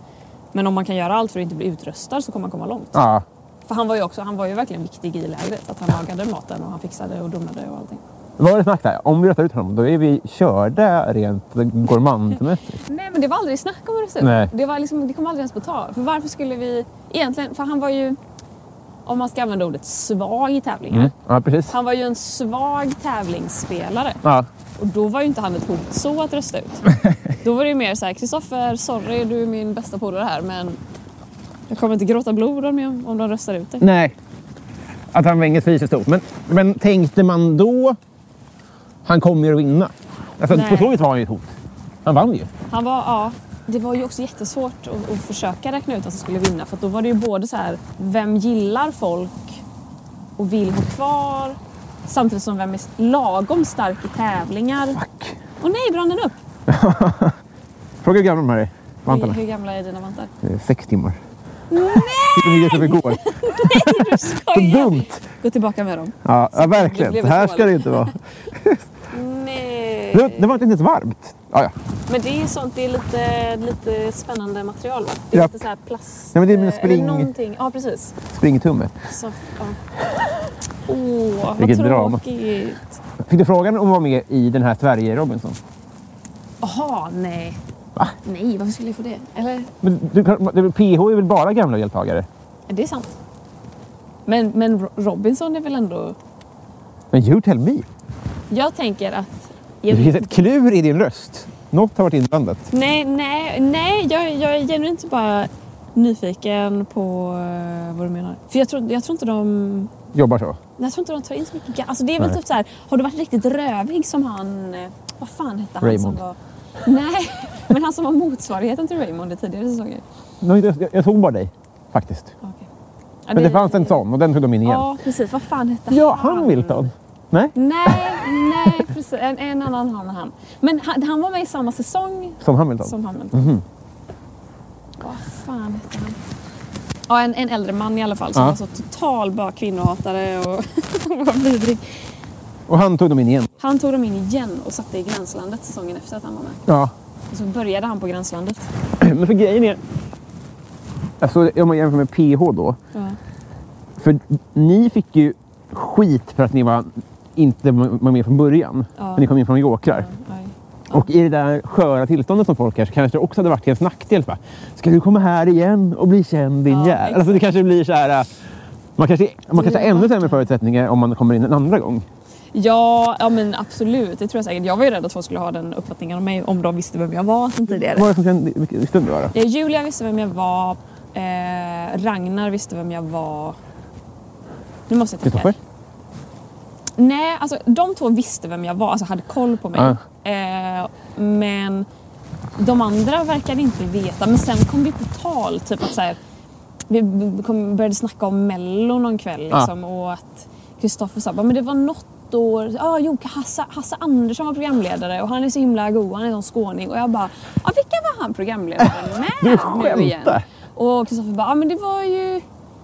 D: men om man kan göra allt för att inte bli utröstad så kommer man komma långt.
C: Ja.
D: För han var ju också, han var ju verkligen viktig i lägret. Att han lagade maten och han fixade och donade och allting.
C: Vad var det snack där? Om vi rättar ut honom, då är vi körda rent gourmandmässigt.
D: Nej men det var aldrig snack om Öresund.
C: Nej.
D: Det, var liksom, det kom aldrig ens på tal. För varför skulle vi egentligen, för han var ju, om man ska använda ordet svag i tävlingar.
C: Mm. Ja, precis.
D: Han var ju en svag tävlingsspelare
C: Ja.
D: och då var ju inte han ett hot så att rösta ut. då var det ju mer så här, Kristoffer, sorry du är min bästa polare här men jag kommer inte gråta blod om, jag, om de röstar ut dig.
C: Nej. Att han var inget pris är stort. Men, men tänkte man då, han kommer ju att vinna. Alltså,
D: Nej.
C: på så vis var han ju ett hot. Han vann ju.
D: Han var, ja, det var ju också jättesvårt att, att försöka räkna ut att som skulle vinna för att då var det ju både så här, vem gillar folk och vill ha kvar samtidigt som vem är lagom stark i tävlingar.
C: Fuck.
D: Och nej, brann den upp?
C: Fråga hur gamla de här är. Vantarna.
D: Hur gamla är dina vantar?
C: Eh, Sex timmar. Nej! Vilken nyhet igår. Så dumt!
D: Gå tillbaka med dem.
C: Ja, ja
D: Det
C: verkligen.
D: blev
C: Så här
D: ett
C: ska
D: hål.
C: det inte vara.
D: Nej.
C: Det, det var inte ens varmt. Ja, ja.
D: Men det är sånt, det är lite, lite spännande material va? Det är
C: Ja.
D: lite så här plast...
C: Nej, men det är mina
D: eh,
C: spring-
D: Eller någonting. Ja, precis.
C: Springtumme.
D: Så, ja. Åh, vad
C: Vilket drama.
D: tråkigt.
C: Fick du frågan om att vara med i den här Sverige-Robinson?
D: Jaha, nej.
C: Va?
D: Nej, varför skulle jag få det? Eller?
C: Men du, kan- det- PH är väl bara gamla deltagare?
D: Det är sant. Men, men Ro- Robinson är väl ändå...
C: Men you tell me.
D: Jag tänker att...
C: Det finns ett klur i din röst. Något har varit inblandat.
D: Nej, nej, nej. Jag, jag är genuint bara nyfiken på eh, vad du menar. För jag tror, jag tror inte de...
C: Jobbar så.
D: Nej, Jag tror inte de tar in så mycket gas. Alltså det är väl
C: Nej.
D: typ så här, har du varit riktigt rövig som han, eh, vad fan hette han
C: Raymond.
D: som var... Nej, men han som var motsvarigheten till Raymond i tidigare säsonger.
C: Nej, Jag, jag såg bara dig, faktiskt.
D: Ja, okej. Ja,
C: Men det fanns en sån och den tog de in igen.
D: Ja, precis. Vad fan hette
C: Ja,
D: han?
C: han Wilton. Nej,
D: Nej, nej, precis. En, en annan han, han. Men han, han var med i samma säsong
C: som Hamilton.
D: som Hamilton. Vad fan hette han? Ja, en, en äldre man i alla fall som
C: Ja.
D: var så total bara kvinnohatare och var vidrig.
C: Och han tog de in igen.
D: Han tog dem in igen och satte i Gränslandet säsongen efter att han var med.
C: Ja.
D: Och så började han på Gränslandet.
C: Men för grejen är... Alltså, om man jämför med PH då.
D: Ja.
C: För ni fick ju skit för att ni var inte var med från början.
D: Ja.
C: För ni kom in från Jokrar.
D: Aj.
C: Och i det där sköra tillståndet som folk är så kanske det också hade varit till ens nackdel. Va? Ska du komma här igen och bli känd din
D: Ja,
C: jävel? Alltså det
D: exakt.
C: kanske blir så här... äh, Man kanske, man kanske har ännu sämre förutsättningar om man kommer in en andra gång.
D: Ja, ja, men absolut. Det tror jag säkert. Jag var ju rädd att folk skulle ha den uppfattningen om mig om de visste vem jag var sedan
C: Vad var
D: tidigare.
C: det som kände, vilken stund det var då?
D: Eh, Julia visste vem jag var. Eh, Ragnar visste vem jag var. Nu måste jag tänka.
C: Kristoffer?
D: Nej, alltså de två visste vem jag var, alltså hade koll på mig. Eh, men de andra verkade inte veta. Men sen kom vi på tal, typ att så här, vi b- kom, började snacka om Mello någon kväll liksom, och att Kristoffer sa "Bara, men det var något år, ja ah, jo Hasse, Hasse Andersson var programledare och han är så himla god, han är sån skåning. Och jag bara, ah, vilka var han programledare
C: Du
D: med nu igen?
C: skämtar.
D: Och Kristoffer bara, ah, men det var ju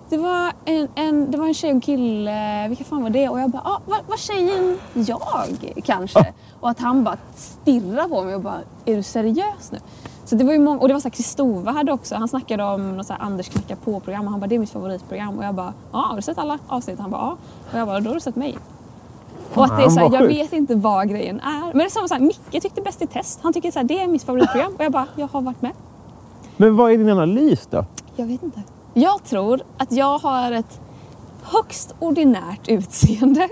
D: det var en, en, det var en tjej och en kille, vilka fan var det? Och jag bara, ah, var, var tjejen jag kanske? Och att han bara stirrar på mig och bara, är du seriös nu? Så det var ju många, och det var så här, Kristova hade också, han snackade om något så här Anders knackar på-program och han bara, det är mitt favoritprogram. Och jag bara, ja, har du sett alla avsnitt? Han bara, ja. Och jag bara, då har du sett mig. Och att det är så här,
C: vad
D: jag
C: sjukt.
D: vet inte vad grejen är. Men det är samma sak, Micke tyckte Bäst i test, han tycker så här, det är mitt favoritprogram. Och jag bara, jag har varit med.
C: Men vad är din analys då?
D: Jag vet inte. Jag tror att jag har ett högst ordinärt utseende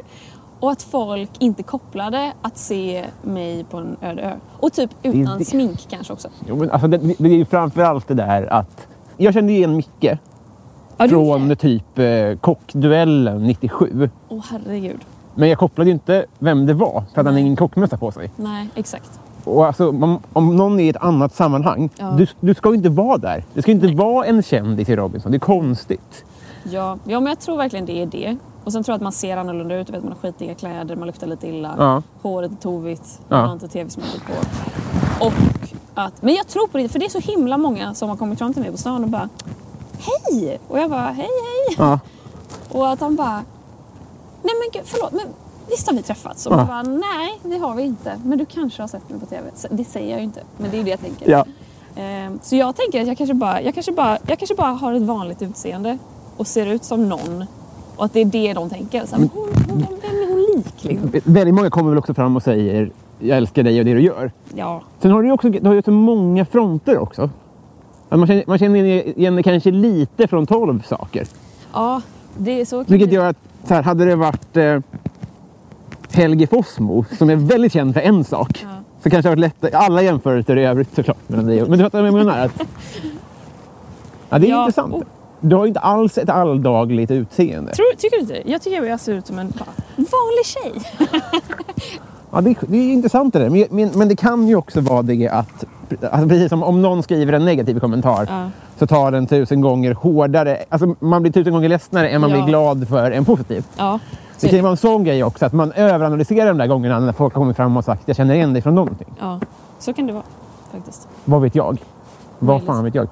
D: och att folk inte kopplade att se mig på en öde ö. Och typ utan
C: det.
D: smink kanske också.
C: Jo, men alltså, det, det är ju framförallt det där att... Jag kände ju igen Micke
D: Ja, du-
C: från typ eh, Kockduellen 97.
D: Åh herregud.
C: Men jag kopplade ju inte vem det var för att han hade ingen kockmössa på sig.
D: Nej, exakt.
C: Och alltså, om, om någon är i ett annat sammanhang,
D: Ja.
C: du, du ska ju inte vara där. Det ska ju inte vara en kändis i Robinson. Det är konstigt.
D: Ja, ja, men jag tror verkligen det är det. Och sen tror jag att man ser annorlunda ut. Du vet, man har skitiga kläder, man luktar lite illa.
C: Ja.
D: Håret är tovigt,
C: Ja.
D: man har inte tv-sminket på. Och att, men jag tror på det, för det är så himla många som har kommit fram till mig på stan och bara Hej! Och jag bara hej hej.
C: Ja.
D: Och att han bara Nej men gud, förlåt men visst har vi träffats? Och man bara, nej det har vi inte. Men du kanske har sett mig på TV. Så Det säger jag ju inte, men det är det jag tänker.
C: Ja.
D: Ehm, Så jag tänker att jag kanske, bara, jag, kanske bara, jag kanske bara har ett vanligt utseende och ser ut som någon. Och att det är det de tänker. Så här, hon, hon, vem är hon lik? Liksom?
C: Väldigt många kommer väl också fram och säger jag älskar dig och det du gör.
D: Ja,
C: Sen har du ju också du har ju så många fronter också. Att Man känner, man känner igen det kanske lite från tolv saker.
D: ja det är så.
C: Vilket gör att så här, hade det varit eh, Helge Fossmo, som är väldigt känd för en sak, så kanske det hade varit lättare. Alla jämförelser i övrigt såklart. Men, det, men du fattar vad jag menar? Att, ja, det är
D: Ja,
C: intressant.
D: och-
C: Du har ju inte alls ett alldagligt utseende.
D: Tror, tycker du inte det? Jag tycker jag ser ut som en bara, vanlig tjej.
C: Ja, det, är, det är intressant det där. Men, men, men det kan ju också vara det att, alltså precis som om någon skriver en negativ kommentar
D: Ja.
C: så tar den tusen gånger hårdare. Alltså man blir tusen gånger ledsnare än man
D: Ja.
C: blir glad för en positiv.
D: Ja,
C: Det kan ju vara en sån grej också, att man överanalyserar de där gångerna när folk har kommit fram och sagt jag känner igen dig från någonting.
D: ja, så kan det vara faktiskt.
C: Vad vet jag? Vad
D: Möjligt.
C: fan vet jag?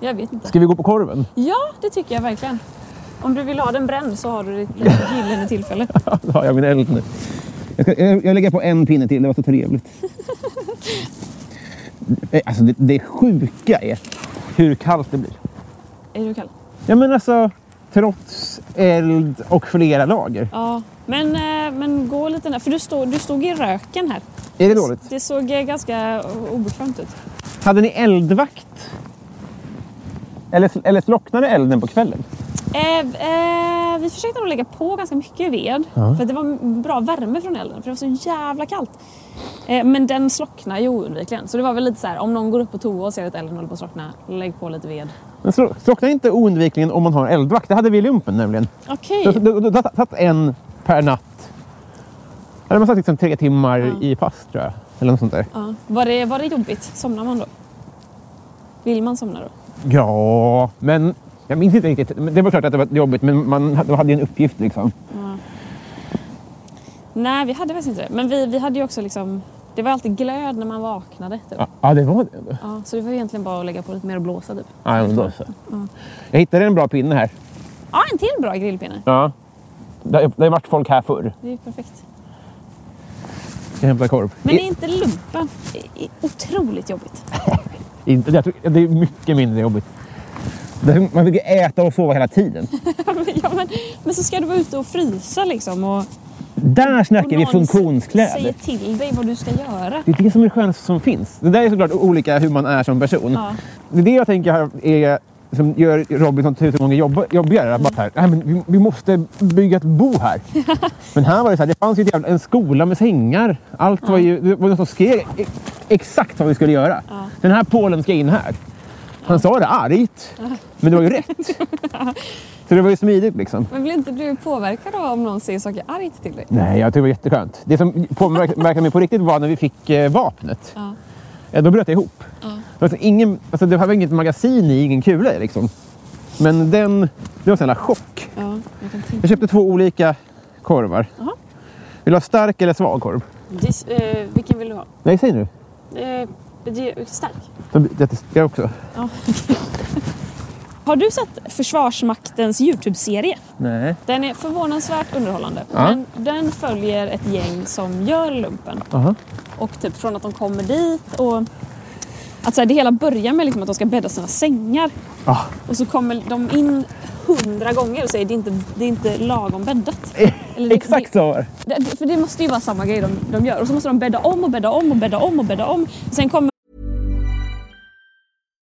D: Jag vet inte.
C: Ska vi gå på korven?
D: Ja, det tycker jag verkligen. Om du vill ha den bränd så har du ditt eh, gyllene tillfälle.
C: Då har jag min eld nu. Jag, ska, jag, jag lägger på en pinne till, det var så trevligt. Eh, alltså det, det sjuka är hur kallt det blir.
D: Är du kall?
C: Ja men alltså, trots eld och flera lager.
D: Ja, men, eh, men gå lite när. För du stod, du stod i röken här.
C: Är det dåligt?
D: Det såg eh, ganska o- obekvämt ut.
C: Hade ni eldvakt? Eller, eller slocknade elden på kvällen?
D: Eh, eh, vi försökte nog lägga på ganska mycket ved. För att det var m- bra värme från elden. För det var så jävla kallt. Eh, men den slocknar ju oundvikligen. Så det var väl lite så här, om någon går upp på toa och ser att elden håller på att slockna, lägg på lite ved.
C: Men slo- slocknar inte oundvikligen om man har eldvakt. Det hade vi i lumpen nämligen.
D: Okej.
C: Då då- då- då satt satt en per natt. Då hade man satt liksom tre timmar i pass tror jag. Eller något sånt där.
D: Ja. Var, det, var det jobbigt? Somnar man då? Vill man somna då?
C: Ja, men jag minns inte riktigt. Men Det var klart att det var jobbigt men man hade hade ju en uppgift liksom.
D: Nej, vi hade faktiskt inte det. Men vi, vi hade ju också liksom... Det var alltid glöd när man vaknade. Typ. Ja.
C: Ja, ja det var det. ändå.
D: så det var egentligen bara att lägga på lite mer och blåsa typ.
C: Ja, men då så. Jag hittade en bra pinne här.
D: Ja, en till bra grillpinne.
C: Ja. Det har det har varit folk här förr.
D: Det är ju perfekt.
C: Jag hämtar korv.
D: Men är
C: I,
D: inte lumpen i- i- otroligt jobbigt?
C: inte- jag tror- det är mycket mindre jobbigt. Det- Man fick ju äta och sova hela tiden.
D: ja, men, men så ska du vara ute och frysa liksom och...
C: Där snackar
D: och
C: vi
D: någon
C: funktionskläder.
D: säger till dig vad du ska göra.
C: Det är det som är det skönaste som finns. Det där är såklart olika hur man är som person.
D: Ja.
C: Det är det jag tänker här är som gör Robinson tusen gånger jobb, jobbigare. Att Bara så här, "Nej, men vi, vi måste bygga ett bo här. men här var det så här, det fanns ju ett jävla, en skola med sängar. Allt var ju, det var någon som skrev e- exakt vad vi skulle göra. Den här Polen ska in här. Han sa det argt, men det var ju rätt. så det var ju smidigt liksom.
D: Men blir inte du påverkad av om någon säger saker argt till dig?
C: Nej, jag tyckte det var jätteskönt. Det som påverkade mig på riktigt var när vi fick eh, vapnet.
D: Ja.
C: Ja, då bröt det ihop. Alltså, ingen, alltså, det här var inget magasin i, ingen kula i liksom. Men den, det var en sån jävla chock.
D: Ja, jag kan tänka.
C: Jag köpte två olika korvar.
D: Jaha.
C: Vill du ha stark eller svag korv?
D: eh, vilken vill du ha? Eh,
C: Nej, säg nu.
D: stark.
C: Då blir det- Jag också.
D: Har du sett Försvarsmaktens YouTube-serie?
C: Nej.
D: Den är förvånansvärt underhållande.
C: Ja.
D: Men den följer ett gäng som gör lumpen.
C: Aha.
D: Och typ från att de kommer dit och... Att så här, det hela börjar med liksom att de ska bädda sina sängar.
C: Ah.
D: Och så kommer de in hundra gånger och säger det är inte, det är inte lagom bäddat. Eller liksom det-
C: Exakt så var det.
D: Det, det, för det måste ju vara samma grej de, de gör. Och så måste de bädda om och bädda om och bädda om och bädda om. Sen kommer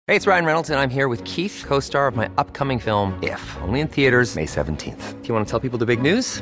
F: Hey, it's Ryan Reynolds, and I'm here with Keith, co star of my upcoming film, If, only in theaters, May 17th. Do you want to tell people the big news?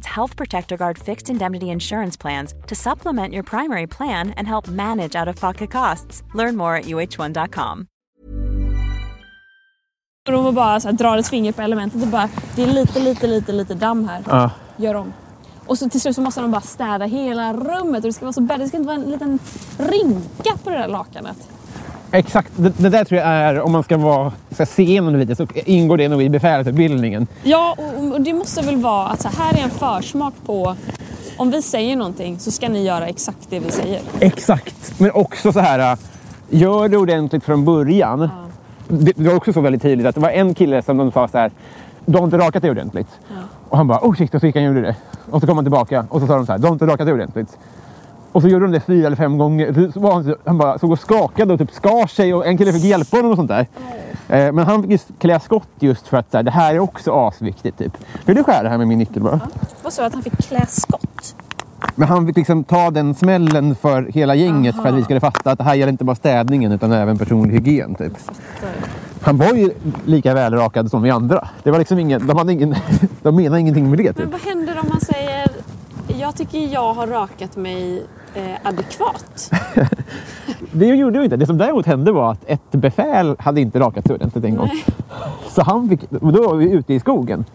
A: Health Protector Guard fixed indemnity insurance plans to supplement your primary plan and help manage out of pocket costs. Learn more at uh1.com.
D: de och bara så här, drar ett finger på elementet och bara det är lite, lite, lite, lite damm här.
C: Ja.
D: Gör om. Och så till slut så måste de bara städa hela rummet och det ska vara så bädd. Det ska inte vara en liten rynka på det där lakanet.
C: Exakt, det, det där tror jag är, om man ska vara, ska se igenom det lite, så ingår det nog i befälsutbildningen.
D: Ja, och, och det måste väl vara att så här är en försmak på om vi säger någonting så ska ni göra exakt det vi säger.
C: Exakt, men också så här, äh, gör det ordentligt från början. Det, det var också så väldigt tydligt att det var en kille som de sa så här, du har inte rakat dig ordentligt. Och han bara, oh shit, och så gick han och gjorde det. Och så kom han tillbaka och så sa de så här, du har inte rakat dig ordentligt. Och så gjorde de det fyra eller fem gånger. Så- Så var han, så- han bara såg och skakade och typ skar sig och en kille fick hjälpa honom och sånt där. Eh, Men han fick just klä skott just för att så här, det här är också asviktigt. Typ. Vill du skära här med min nyckel bara?
D: Vad sa du att han fick klä skott?
C: Men han fick liksom ta den smällen för hela gänget för att vi skulle fatta att det här gäller inte bara städningen utan även personlig hygien. Typ. Han var ju lika välrakad som vi andra. Det var liksom ingen, de, hade ingen, de menade ingenting med det. Typ.
D: Men vad händer om man säger jag tycker jag har rakat mig eh, adekvat?
C: Det gjorde vi inte. Det som däremot hände var att ett befäl hade inte rakat sig ordentligt en gång. Så han fick, och då var vi ute i skogen.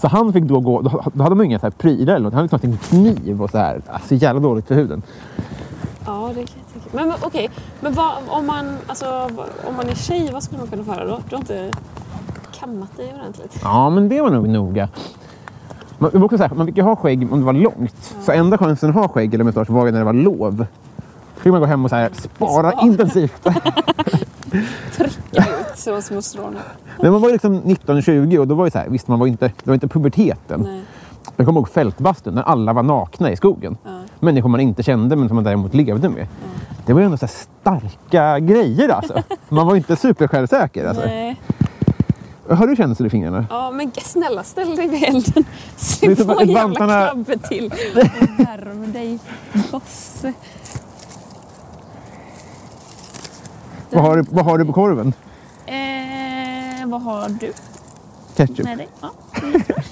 C: Så han fick då gå, då då hade man ju inga så här prylar eller något. Han hade liksom haft en kniv och så här. Alltså jävla dåligt för huden.
D: Ja, det kan jag tänka Men men okej, men vad, om, man, alltså, vad- om man är tjej, vad skulle man kunna få höra då? Du har inte kammat dig ordentligt.
C: Ja, men det var nog noga. Man, det var också så här, man fick ju ha skägg om det var långt. Så enda chansen att ha skägg eller mustasch var ju när det var lov. Då fick man gå hem och så här, spara
D: Spara.
C: intensivt.
D: Pricka ut så små strån.
C: Men man var ju liksom 19-20 och då var ju så här, visst man var ju inte, det var inte puberteten.
D: Nej.
C: Jag kommer ihåg fältbastun när alla var nakna i skogen. Människor man inte kände men som man däremot levde med. Det var ju ändå så här starka grejer alltså. Man var ju inte supersjälvsäker. Alltså.
D: Nej.
C: Har du känslor i fingrarna?
D: Ja, men snälla ställ dig vid elden.
C: Det är
D: Se
C: typ
D: på
C: att
D: jävla
C: vantarna-
D: krabbe till. Och värm dig, bosse.
C: Vad har, du, vad har du på korven?
D: Eh, vad har du
C: Ketchup?
D: med dig? Ja.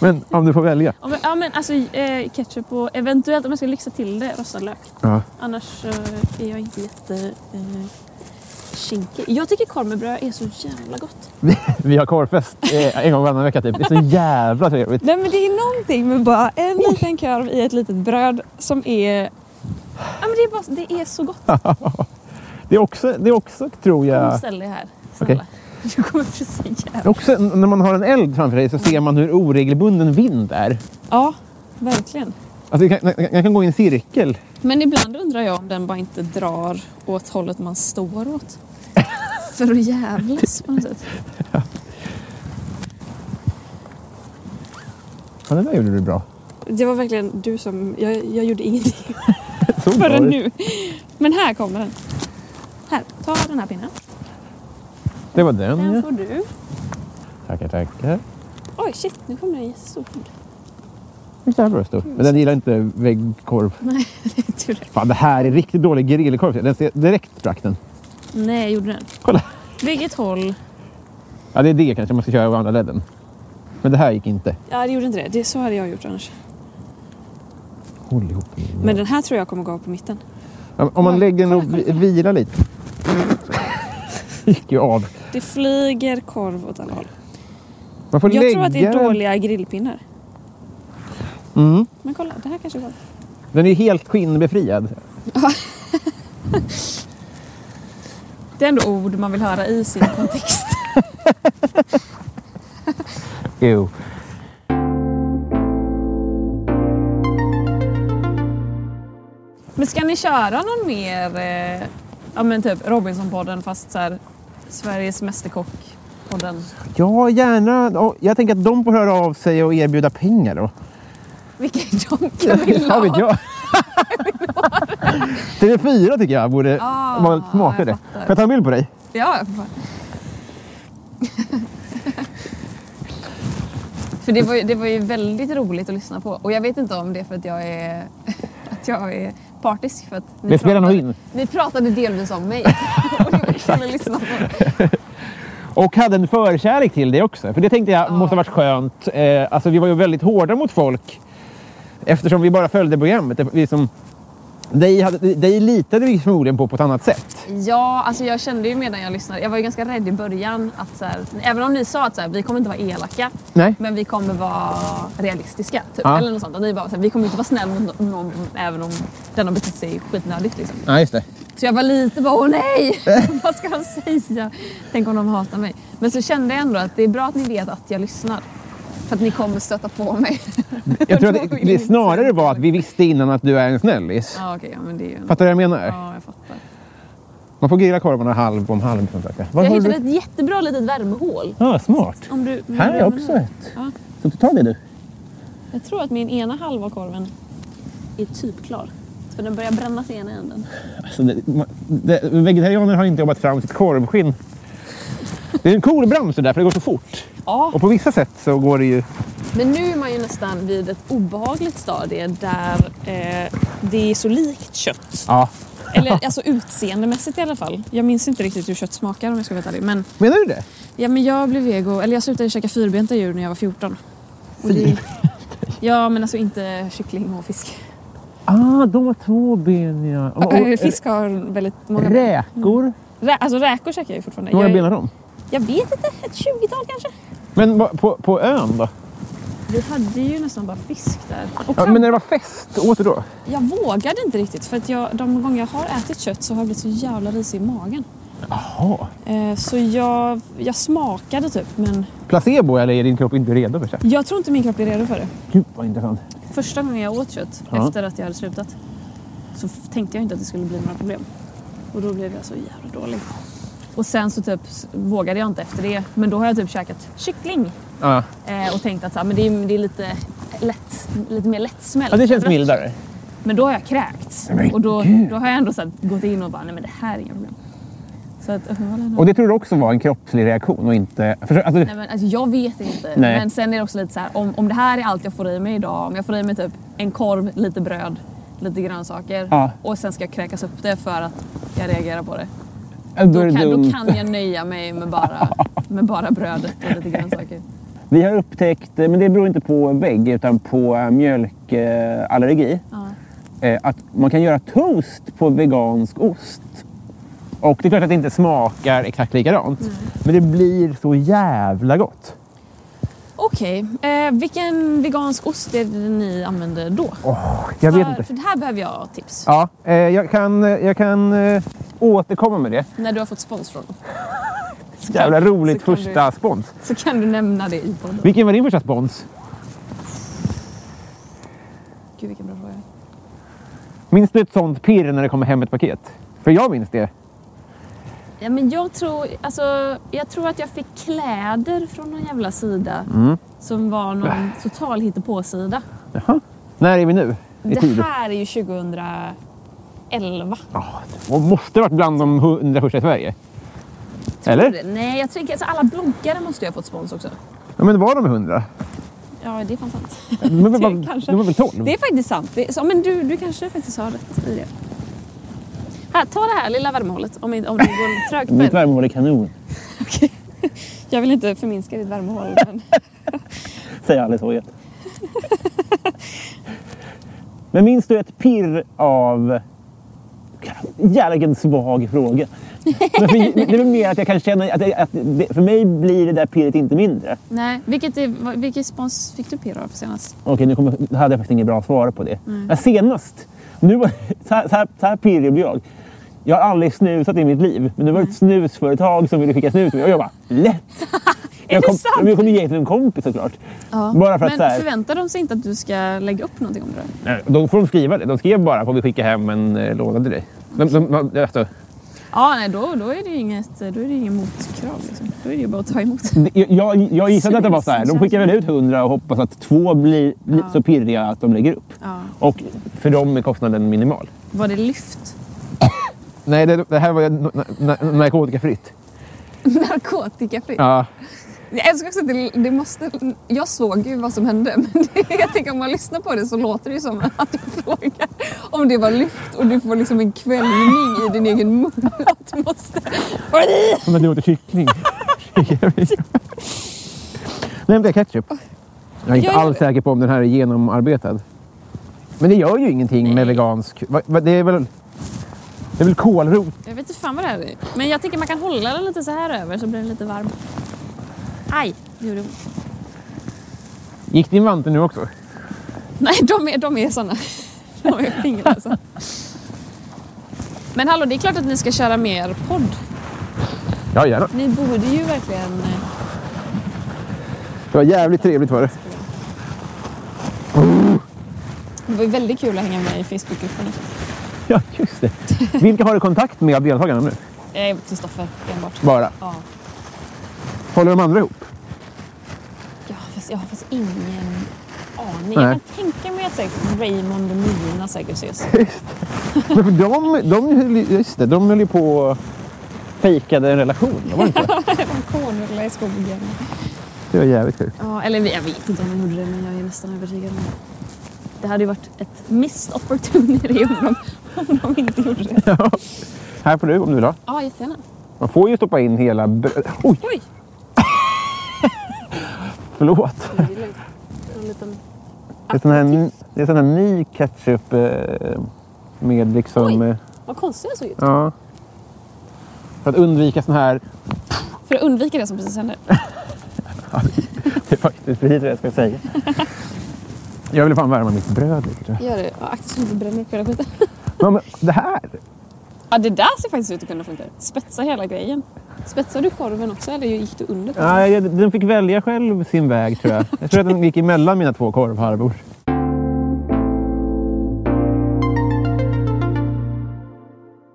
C: Men om du får välja.
D: Ja, men- Ja, men alltså eh, ketchup och eventuellt, om jag ska lyxa till det, rostad lök.
C: Ja.
D: Annars eh, är jag inte jätte... Eh, kinkig. Jag tycker korv med bröd är så jävla gott.
C: Vi, vi har korvfest eh, en gång varannan vecka typ. Det är så jävla trevligt.
D: Nej men det är någonting med bara en liten korv i ett litet bröd som är... Ja men det är, bara, det är så gott.
C: Det är också, det är också tror jag...
D: Ställ dig här. Snälla. Du kommer precis jävla...
C: Också n- när man har en eld framför sig så ser man hur oregelbunden vind är.
D: Ja, verkligen.
C: Alltså, jag, kan, jag kan gå i en cirkel.
D: Men ibland undrar jag om den bara inte drar åt hållet man står åt. För att jävlas på något sätt.
C: Ja, det där gjorde du bra.
D: Det var verkligen du som... Jag, jag gjorde ingenting
C: Så bra.
D: förrän nu. Men här kommer den. Här, ta den här pinnen.
C: Det var den
D: Den
C: ja.
D: får du.
C: Tackar, tackar.
D: Oj, shit, nu kommer det en jättestor hund.
C: Vilken jävla stor. Men den gillar inte väggkorv.
D: Nej, det är tur det.
C: Fan, det här är riktigt dålig grillkorv. Den ser direkt sprack den.
D: Nej, gjorde den.
C: Kolla.
D: Vilket håll?
C: Ja, det är det kanske man ska köra över andra ledden. Men det här gick inte.
D: Ja, det gjorde inte det. det. Så hade jag gjort annars.
C: Håll ihop.
D: Men den här tror jag kommer gå på mitten.
C: Ja, Om man lägger den och vi- vilar lite. gick ju av.
D: Det flyger korv åt alla håll.
C: Man får
D: Jag
C: lägga
D: tror att det är
C: den-
D: dåliga grillpinnar.
C: Mm.
D: Men kolla, det här kanske går.
C: Den är ju helt skinnbefriad.
D: Det är ändå ord man vill höra i sin kontext.
C: Jo.
D: men ska ni köra någon mer, eh, ja men typ Robinsonpodden fast så här Sveriges Mästerkock-podden?
C: Ja, gärna. Och Jag tänker att de får höra av sig och erbjuda pengar då.
D: Vilka är de Camilla?
C: Vad vet jag? TV4 tycker jag borde
D: Ah,
C: vara smakade.
D: jag
C: Får
D: fattar.
C: jag ta en bild på dig?
D: Ja. fan. för det var, ju, det var ju väldigt roligt att lyssna på. Och jag vet inte om det är för att jag är, att jag är partisk. För att ni
C: Det spelar nog
D: pratade-
C: in.
D: Ni pratade delvis om mig. och det var kul att lyssna på.
C: Och hade en förkärlek till det också. För det tänkte jag måste ha varit skönt. Eh, alltså vi var ju väldigt hårda mot folk. Eftersom vi bara följde programmet. Vi som Dig, hade, dig litade vi förmodligen på på ett annat sätt.
D: Ja, alltså jag kände ju medan jag lyssnade, jag var ju ganska rädd i början att så här, även om ni sa att så här, vi kommer inte vara elaka,
C: Nej.
D: men vi kommer vara realistiska. Typ,
C: Ja.
D: Eller något sånt. Att ni bara, så här, vi kommer inte vara snäll mot någon även om den har betett sig skitnödigt. Liksom.
C: Ja, just det.
D: Så jag var lite bara, åh nej! Vad ska han säga? Tänk om de hatar mig. Men så kände jag ändå att det är bra att ni vet att jag lyssnar. För att ni kommer stöta på mig.
C: Jag tror
D: Då
C: att det,
D: vill ni
C: det
D: inte
C: snarare
D: säga.
C: var att vi visste innan att du är en snällis.
D: Ja, okej. ja, men det är ju...
C: Fattar du vad jag menar?
D: Ja, jag fattar.
C: Man får grilla korvarna halv om halv. Sånt där. Vad
D: Jag
C: har
D: hittade
C: du?
D: ett jättebra litet värmehål.
C: Ah, smart.
D: Om du,
C: Här är också ett.
D: Ja.
C: Så du tar det du?
D: Jag tror att min ena halva av korven är typ klar. För den börjar brännas i ena änden.
C: Alltså, det, ma- det, vegetarianer har inte jobbat fram sitt korvskinn. Det är en cool bransch det där, för det går så fort.
D: Ja,
C: Och på vissa sätt så går det ju...
D: men nu är man ju nästan vid ett obehagligt stadie där eh, det är så likt kött.
C: Ja.
D: Eller alltså utseendemässigt i alla fall. Jag minns inte riktigt hur kött smakar om jag ska vara helt ärlig. Men,
C: Menar du det?
D: ja, men jag blev vego, eller jag slutade käka fyrbenta djur när jag var 14. Och det, ja men alltså inte kyckling och fisk.
C: Ah, de har två ben ja. Och,
D: Äh, Fisk har väldigt många ben.
C: räkor.
D: Rä, alltså räkor käkar jag ju fortfarande.
C: Hur många
D: Jag,
C: ben har de?
D: jag vet inte, ett tjugotal kanske.
C: Men va- på, på ön då?
D: Vi hade ju nästan bara fisk där. Och
C: Ja,
D: kamp-
C: men när det var fest, åt du då?
D: Jag vågade inte riktigt för att jag, de gånger jag har ätit kött så har jag blivit så jävla risig i magen.
C: Jaha.
D: Eh, så jag, jag smakade typ men
C: Placebo eller är din kropp inte redo för det?
D: jag tror inte min kropp är redo för det.
C: Gud vad intressant.
D: Första gången jag åt kött
C: Ja.
D: efter att jag hade slutat så f- tänkte jag inte att det skulle bli några problem. Och då blev jag så jävla dålig. Och sen så typ s- vågade jag inte efter det men då har jag typ käkat kyckling
C: Ja.
D: eh, och tänkt att så här, men det, är, det är lite lätt, lite mer lättsmält.
C: ja, det känns
D: Brött.
C: mildare.
D: Men då har jag kräkts.
C: Men
D: Och då,
C: gud.
D: då har jag ändå så här, gått in och bara, nej men det här är inga problem. Så att eh, uppenbarligen...
C: Och det tror du också var en kroppslig reaktion och inte... Försök, alltså,
D: Nej, men, alltså, jag vet inte.
C: Nej.
D: Men sen är det också lite så här, om, om det här är allt jag får i mig idag. Om jag får i mig typ en korv, lite bröd, lite grönsaker.
C: Ja.
D: Och sen ska jag kräkas upp det för att jag reagerar på det.
C: då är
D: Då
C: det
D: kan, då
C: dumt.
D: kan jag nöja mig med bara, med bara brödet och lite grönsaker.
C: Vi har upptäckt, eh, men det beror inte på vägg utan på eh, mjölkallergi,
D: Ja.
C: eh, att man kan göra toast på vegansk ost. Och det är klart att det inte smakar exakt likadant,
D: Mm.
C: men det blir så jävla gott.
D: Okej, eh, vilken vegansk ost är det ni använder då?
C: Jag vet
D: för,
C: inte.
D: för det här behöver jag tips.
C: Ja, eh, jag kan, eh, jag kan eh, återkomma med det.
D: När du har fått spons från dem. Så kan-
C: Jävla roligt
D: så kan
C: första spons.
D: Du, så kan du nämna det i podden.
C: Vilken var din första spons?
D: Gud vilken bra fråga.
C: Minns du ett sånt pirr när det kommer hem ett paket? För jag minns det.
D: Ja, men jag, tror, alltså, jag tror att jag fick kläder från någon jävla sida
C: Mm.
D: som var någon total hittepåsida.
C: Jaha. När är vi nu? I tid?
D: Det här är ju 2011.
C: Ja, det måste varit bland de hundra första i Sverige.
D: Tror
C: Eller?
D: du det? Nej, jag tänker alltså, alla bloggare måste ju ha fått spons också.
C: Ja, men var de hundra?
D: Ja, det är fan sant.
C: De var, väl-
D: Typ, kanske.
C: de var väl tolv?
D: Det är faktiskt sant. Det är, så, men du, du kanske faktiskt har rätt i det. Här, ta det här lilla värmehålet om, om det går trögt. för er.
C: värmehål är kanon.
D: Jag vill inte förminska ditt värmehål. Men...
C: Säger Alice Hojet. men minns du ett pirr av... Jävlar vilken svag fråga. Men för, det är väl mer att jag kan känna att, det, att det, för mig blir det där pirret inte mindre.
D: Nej, vilket är, vad- vilken spons fick du pirrar för senast?
C: Okej, nu kommer, då hade jag faktiskt inget bra svar på det. Ja, senast, nu, var- så, här, så, här, så här pirrig blev jag. Jag har aldrig snusat i mitt liv, men det var ett snusföretag som ville skicka snus med mig. och jag bara lätt! jag,
D: det
C: kom,
D: sant?
C: jag kommer ge till en kompis såklart. Bara för att
D: men
C: så här,
D: förväntar de sig inte att du ska lägga upp någonting om det då?
C: Nej, Då får de skriva det. De skrev bara får vi skicka hem en eh, låda till dig. De, de, de, alltså,
D: Ja, nej, då, då är det ju inget, då är det ju inget motkrav. Liksom. Då är det ju bara att ta emot.
C: det- jag, jag gissade att det var så här. De skickar väl ut hundra och hoppas att två blir li- så pirriga att de lägger upp.
D: Ja.
C: Och för dem är kostnaden minimal.
D: Var det lyft?
C: Nej, det, det här var ju na- na- narkotikafritt.
D: Narkotikafritt?
C: Ja.
D: Jag älskar också att det, det måste... Jag såg ju vad som hände, men det, jag tänker om man lyssnar på det så låter det ju som att du frågar om det var lyft och du får liksom en kvällning i din egen mun. Att du måste...
C: Som att du åt kyckling. Nej, men det är ketchup. Jag är inte
D: Jag-
C: alls säker på om den här är genomarbetad. Men det gör ju ingenting med vegansk... va- va- Det är väl, det är väl kålrot?
D: Jag vet inte fan vad det här är. Men jag tänker man kan hålla den lite så här över så blir den lite varm. Aj, det gjorde ont.
C: Gick din vante nu också?
D: Nej, de är, de är såna. De är fingerlösa. Men hallå, det är klart att ni ska köra mer podd.
C: Ja, gärna.
D: Ni borde ju verkligen... eh,
C: Det var jävligt trevligt var det.
D: Det var ju väldigt kul att hänga med i Facebookgruppen.
C: Ja, just det. Vilka har du kontakt med av deltagarna nu?
D: Eh, Kristoffer enbart.
C: Bara.
D: Ja.
C: Håller de andra ihop?
D: Jag har fast, jag har fast ingen aning.
C: Nej.
D: Jag kan tänka mig att säkert Raymond och Mina säkert ses.
C: Men för de, de, höll ju- just det, de höll ju på och fejkade en relation. Var det, inte?
D: Konungliga i skogen.
C: det var jävligt kul.
D: Ja, eller jag vet inte om de gjorde det, men jag är nästan övertygad om det. Det hade ju varit ett missed opportunity om de, om de inte gjorde det.
C: Här får du om du vill ha.
D: Ja, jättegärna.
C: Man får ju stoppa in hela brödet. Oj,
D: Oj!
C: förlåt.
D: En liten...
C: Det är sån här, det är sån här ny ketchup eh, med liksom...
D: Oj.
C: eh,
D: Vad konstigt jag såg ut.
C: Ja. För att undvika sån här...
D: För att undvika det som precis hände.
C: Det är faktiskt precis vad jag ska säga. Jag vill fan värma mitt bröd lite. tror jag.
D: Gör det. Ja, Akta så du inte bränner upp hela skiten.
C: Ja, men det här!
D: Ja, det där ser faktiskt ut att kunna funka. Spetsa hela grejen. Spetsar du korven också eller gick du under korven?
C: Nej, jag- den fick välja själv sin väg tror jag. Jag tror att den gick emellan mina två korvharvor.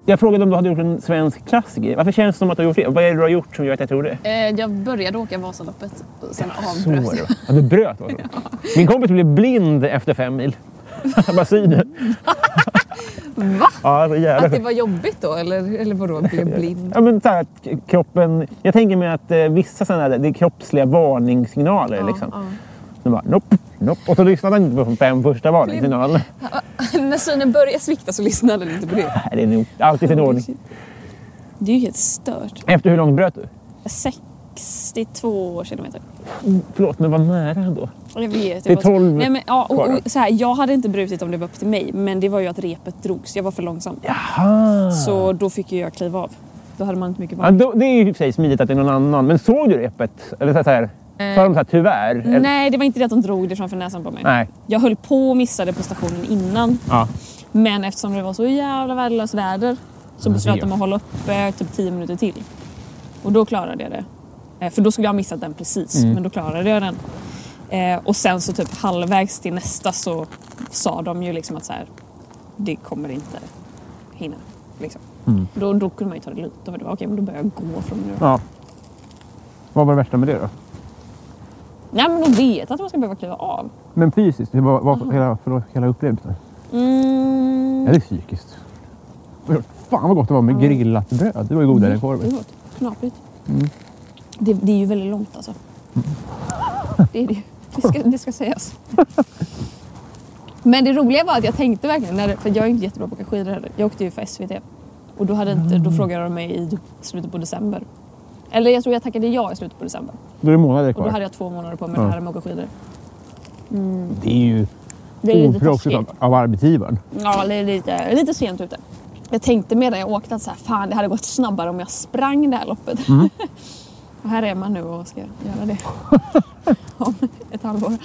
C: Jag frågade om du hade gjort en svensk klassiker. Varför känns det som att du har gjort det? Vad är det du har gjort som gör att jag tror det?
D: Eh, jag började åka Vasaloppet och sen
C: Så var
D: avbröt
C: det.
D: jag.
C: va? Ja, du bröt var det. Min kompis blev blind efter fem mil. Han bara synen.
D: Va?
C: Ja, så jävla
D: Att det var jobbigt då eller, eller vadå? Blev blind?
C: Ja, men så här, att k- kroppen, jag tänker mig att eh, vissa sådana där, det är kroppsliga varningssignaler. liksom.
D: Ja,
C: Så bara, nope, nope. Och så lyssnade han inte på de fem första varningssignalerna.
D: ja. När synen började svikta så lyssnade den inte på det.
C: Nej, Det är nog alltid sin ordning.
D: Det är ju helt stört.
C: Efter hur långt bröt du?
D: 62 kilometer.
C: Förlåt, men vad nära ändå.
D: Jag vet.
C: Det är
D: jag var så-
C: 12
D: Nej, men, ja, och,
C: kvar då.
D: och, så här, jag hade inte brutit om det var upp till mig men det var ju att repet drogs. Jag var för långsam.
C: Jaha!
D: Så då fick ju jag kliva av. Då hade man inte mycket
C: Ja,
D: val.
C: då, det är ju i och för sig smidigt att det är någon annan. Men såg du repet? Eller så här, så här, sa de så här tyvärr? Eller-
D: Eh, Nej, det var inte det att de drog det framför näsan på mig.
C: Nej.
D: Jag höll på och missade på stationen innan.
C: Ja.
D: Men eftersom det var så jävla värdelöst väder så beslöt de
C: gör.
D: att hålla upp eh, typ 10 minuter till. Och då klarade jag det. Eh, För då skulle jag ha missat den precis, men då klarade jag den. Eh, och sen så typ halvvägs till nästa så sa de ju liksom att så här, det kommer inte hinna. Liksom. Då, då kunde man ju ta det lugnt. Då var det bara, okej, men då börjar jag gå från nu.
C: ja. Vad var det värsta med det då?
D: Nej, men de vet att man ska behöva kliva av.
C: Men fysiskt, hur var, var hela, förlåt, hela upplevelsen?
D: Mm,
C: Eller psykiskt? Förlåt, Fan vad gott det var med grillat bröd. Det var ju godare än
D: det är
C: korven.
D: gott. Knaprigt.
C: Mm.
D: Det, det är ju väldigt långt alltså. Det är det ju. Det ska, det ska sägas. Men det roliga var att jag tänkte verkligen, när, det- för jag är inte jättebra på att åka skidor heller. Jag åkte ju för SVT. Och då, hade inte,
C: Mm.
D: då frågade de mig i typ slutet på december. Eller jag tror jag tackade ja i slutet på december.
C: Då är det månader
D: Och då
C: kvar.
D: hade jag två månader på mig med
C: Ja.
D: det här med att åka skidor.
C: Det är ju
D: Det är lite
C: oproffsigt
D: taskigt.
C: av, av arbetsgivaren.
D: Ja, det är lite, lite sent ute. Jag tänkte medan jag åkte att så här, fan det hade gått snabbare om jag sprang det här loppet.
C: Mm.
D: och här är man nu och ska göra det. Om ett halvår.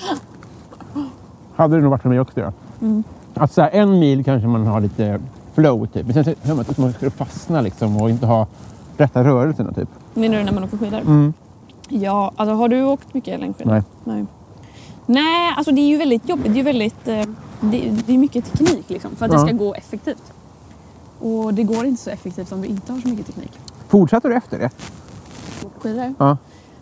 C: Hade det nog varit för mig också det. Att så här, en mil kanske man har lite flow typ. Men sen så hör man att man skulle fastna liksom och inte ha rätta rörelserna typ.
D: Menar du när man åker skidor? Ja, alltså har du åkt mycket längdskidor?
C: Mm. Nej.
D: Nej. Nej, alltså det är ju väldigt jobbigt. Det är ju väldigt... eh, Det, det är mycket teknik liksom för att det
C: Ja.
D: ska gå effektivt. Och det går inte så effektivt om du inte har så mycket teknik.
C: Fortsatte du efter det?
D: Åka skidor?
C: Ja.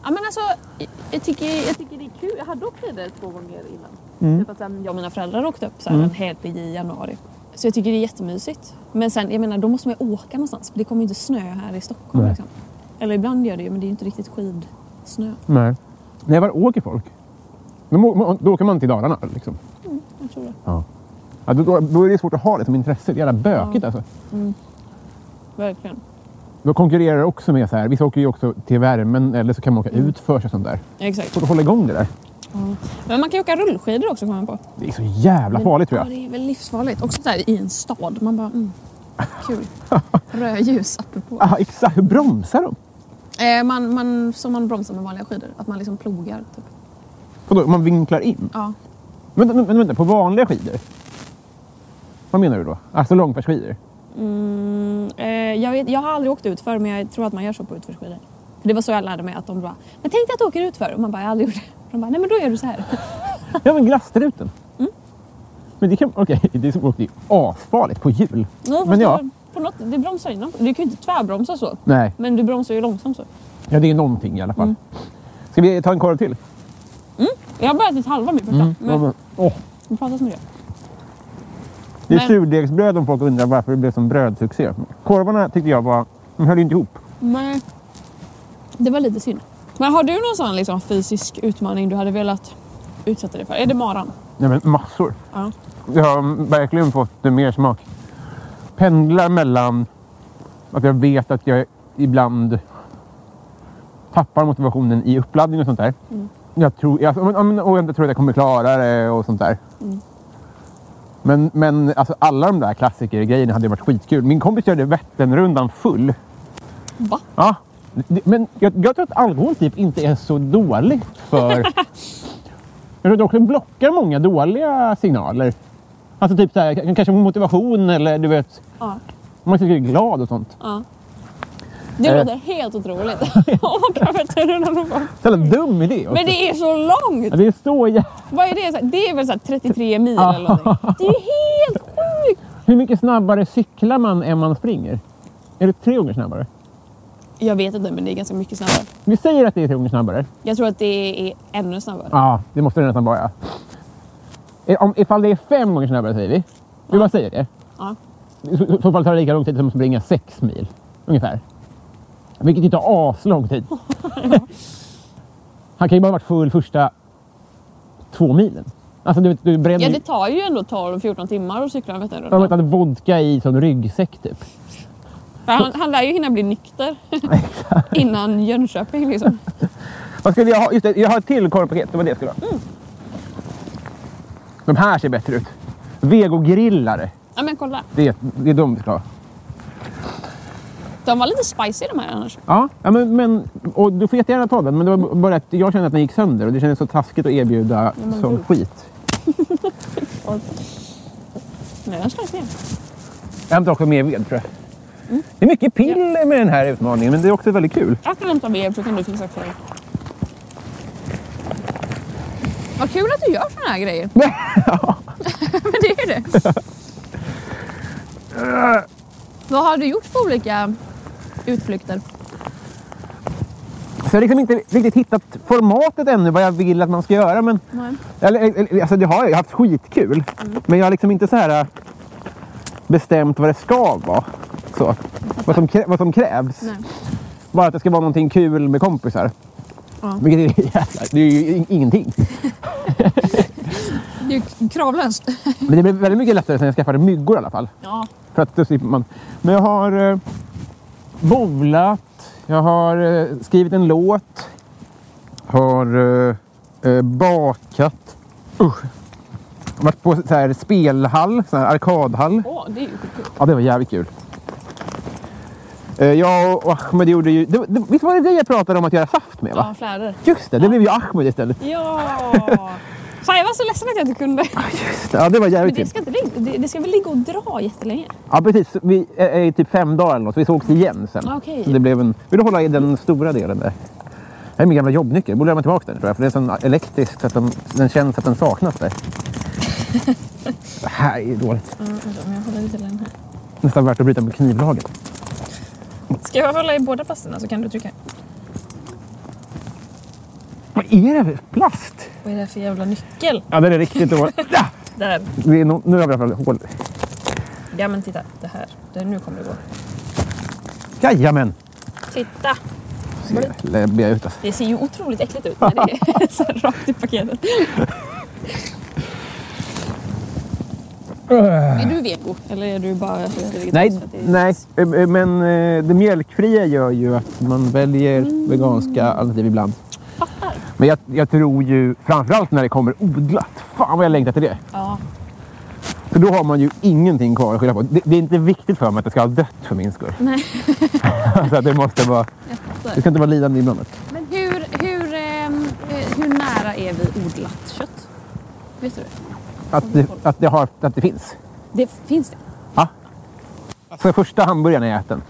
D: Ja, men alltså, jag- jag, tycker, jag tycker det är kul. Jag hade åkt skidor två gånger innan.
C: Mm.
D: Typ att sen jag och mina föräldrar åkte upp så här en helg i januari. Så jag tycker det är jättemysigt. Men sen, jag menar, då måste man ju åka någonstans. För det kommer ju inte snö här i Stockholm.
C: Nej.
D: Liksom. Eller ibland gör det ju, men det är ju inte riktigt skidsnö.
C: Nej. Nej, var åker folk? De å- Då åker man till Dalarna liksom.
D: Jag tror det.
C: Ja. då, då, då är det svårt att ha det som intresse. Det är jävla bökigt alltså.
D: Verkligen.
C: Då konkurrerar det också med så här. Vissa åker ju också till värmen eller så kan man åka utförs och sånt där.
D: Exakt.
C: Svårt att hålla igång det där.
D: Men man kan ju åka rullskidor också kommer jag på.
C: Det är så jävla farligt tror jag.
D: Ja, det är väl livsfarligt. Också där i en stad. Man bara, mm, kul. Rödljus apropå.
C: Aha, Ah, exakt. Hur bromsar de?
D: Eh, man, man, som man bromsar med vanliga skidor. Att man liksom plogar. Typ.
C: Vadå, man vinklar in?
D: Ja.
C: Vänta, vänta, vänta, på vanliga skidor? Vad menar du då? Alltså långfärdsskidor?
D: Mm, eh, jag, vet, jag har aldrig åkt ut för men jag tror att man gör så på utförsskidor. För det var så jag lärde mig att de bara, men tänk dig att du åker utför. Och man bara, jag har aldrig gjort det. De bara, nej men då gör du så här.
C: Ja, men glasstruten. Men det kan... Okej, det är som det är asfarligt på hjul.
D: Ja, fast
C: men ja.
D: det- På något, det bromsar in dem. Du kan ju inte tvärbromsa så.
C: Nej,
D: Men du bromsar ju långsamt så.
C: ja, det är någonting i alla fall. Ska vi ta en korv till?
D: Jag har börjat ett halva min första.
C: Ja,
D: Men
C: men- Åh,
D: vi pratar som det.
C: det är
D: Men-
C: surdegsbröd om folk undrar varför det blev som brödsuccé. Korvarna tyckte jag var... De höll ju inte ihop.
D: Nej. Det var lite synd. Men har du någon sån liksom, fysisk utmaning du hade velat utsätta dig för? Är det maran?
C: Nej, men massor.
D: Ja.
C: Jag har verkligen fått mer smak. Pendlar mellan att jag vet att jag ibland tappar motivationen i uppladdning och sånt där. Jag tror, jag, ja, men- och jag tror att jag kommer klara det och sånt där. Men, men alltså alla de där klassikergrejerna hade varit skitkul. Min kompis körde Vätternrundan full.
D: Va?
C: Ja. Det- Men jag, jag tror att alkohol typ inte är så dåligt för... jag tror att det också blockar många dåliga signaler. Alltså typ så här, k- kanske motivation eller du vet,
D: Ja.
C: om man tycker är glad och sånt.
D: ja. Det
C: Eh.
D: låter helt otroligt. Åka veterinären bara.
C: Så jävla dum idé också.
D: Men det är så långt!
C: Ja, det är så jä...
D: Vad är det? Så här- Det är väl så här 33 mil
C: Ja.
D: eller någonting. Det är ju helt sjukt!
C: Hur mycket snabbare cyklar man än man springer? Är det tre gånger snabbare?
D: Jag vet inte men det är ganska mycket snabbare.
C: Vi säger att det är tre gånger snabbare.
D: Jag tror att det är ännu snabbare.
C: Ja, det måste det nästan vara. ja. Om, ifall det är fem gånger snabbare säger vi. Vi bara säger det.
D: Ja.
C: I så, i så fall tar det lika lång tid som att springa sex mil. Ungefär. Vilket ju tar aslång tid. Han kan ju bara ha varit full första två milen. Alltså du, vet, du bränner
D: Ja,
C: ju-
D: det tar ju ändå 12-14 timmar att cykla en
C: Ja, men
D: Vätternrundan.
C: hade vodka i som ryggsäck typ.
D: För Han, han lär ju hinna bli nykter innan Jönköping. Liksom.
C: Vad skulle jag ha? Just det, jag har ett till korvpaket. Det var det jag skulle ha.
D: Mm.
C: De här ser bättre ut. Vegogrillare.
D: Ja, men kolla,
C: Det, det är de vi ska ha.
D: de var lite spicy de här annars.
C: Ja, ja men, men, och du får jättegärna ta den. Men det var bara att jag kände att den gick sönder och det kändes så taskigt att erbjuda sån skit.
D: Nej, den slank ner.
C: Jag hämtar också mer ved tror jag.
D: Mm.
C: Det är mycket pill med den här utmaningen men det är också väldigt kul.
D: Jag kan hämta med så kan du fixa kvar. Vad kul att du gör såna här grejer. men det är ju det. Vad har du gjort för olika utflykter?
C: Så jag har liksom inte riktigt hittat formatet ännu vad jag vill att man ska göra. Men,
D: Nej. Mm.
C: eller, eller, alltså det har jag, jag har haft skitkul. Men jag har liksom inte så här äh, bestämt vad det ska vara. Så. Vad, som krä, vad som krävs.
D: Nej.
C: Bara att det ska vara någonting kul med kompisar.
D: Ja.
C: Vilket är, jävlar, det är ju in- ingenting.
D: Det är ju kravlöst.
C: Men det blev väldigt mycket lättare sen jag skaffade myggor i alla fall.
D: Ja.
C: För att då slipper man. Men jag har eh, bowlat, jag har eh, skrivit en låt, har eh, eh, bakat, usch. Varit på så här spelhall, så här arkadhall.
D: Åh, det är ju skitkul.
C: Ja, det var jävligt kul. Eh, jag och Ahmed gjorde ju... Det, det, visst var det det jag pratade om att göra saft med? Va?
D: Ja, fläder.
C: Just det, det blev ju Ahmed istället.
D: Ja! Fan, jag var så ledsen att jag inte kunde.
C: Ja, det var
D: Men
C: jävligt
D: det
C: kul.
D: ska, inte, ligga- det, det ska väl ligga och dra jättelänge?
C: Ja, precis. Vi är är i typ fem dagar eller något. Vi sågs igen sen.
D: Ah, okej.
C: Så det blev en... Vill du hålla i den stora delen där? Det här är min gamla jobbnyckel. Jag borde lämna tillbaka den tror jag. För den är sån elektrisk så att den, den känns att den saknas där. det här är ju dåligt.
D: Jag håller lite den här.
C: Nästan värt att bryta med knivlagen.
D: Ska jag hålla i båda plasterna så kan du trycka?
C: Vad är det för plast?
D: Vad är det för jävla nyckel?
C: Ja, den är riktigt dålig. Ja!
D: Där.
C: Det är no... Nu har vi i alla fall hål.
D: Ja men titta, det här. Det, nu kommer det gå.
C: Jajamän!
D: Titta!
C: Eller be ut alltså.
D: Det ser ju otroligt äckligt ut när det är så här rakt i paketet. är du vego? Eller är du bara
C: Äh. Nej,
D: vegetarisk?
C: nej, eh, eh, men eh, det mjölkfria gör ju att man väljer veganska alternativ ibland.
D: Fattar.
C: Men jag, jag tror ju, framförallt när det kommer odlat. Fan vad jag längtar till det.
D: Ja.
C: För då har man ju ingenting kvar att skylla på. Det, det är inte viktigt för mig att det ska ha dött för min skull.
D: Nej.
C: Så att det måste vara... Det ska inte vara lidande inblandat.
D: Men hur, hur, ehm, eh, hur nära är vi odlat kött? Vet du det?
C: Att det, att det, har, att det finns.
D: det finns det?
C: Så första hamburgaren är äten.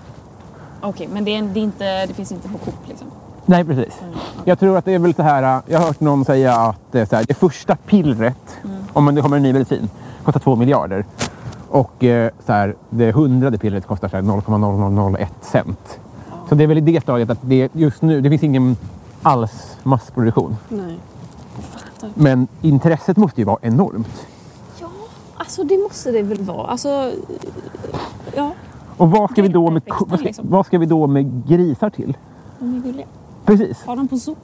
D: Okej, men det, är, det, är inte, det finns inte på Coop liksom?
C: Nej, precis. Jag tror att det är väl så här. äh, Jag har hört någon säga att det, är så här, det första pillret, om det kommer en ny medicin, kostar två miljarder. Och eh, så här, det hundrade pillret kostar så här 0,0001 cent. Så det är väl i det stadiet att det just nu, det finns ingen alls massproduktion.
D: Nej.
C: Men intresset måste ju vara enormt.
D: Ja, alltså det måste det väl vara. Alltså, ja,
C: Och vad ska, vi då med,
D: Växten,
C: vad ska,
D: liksom.
C: vad ska vi då med grisar till?
D: de är gulliga.
C: Precis.
D: Har de på zoo?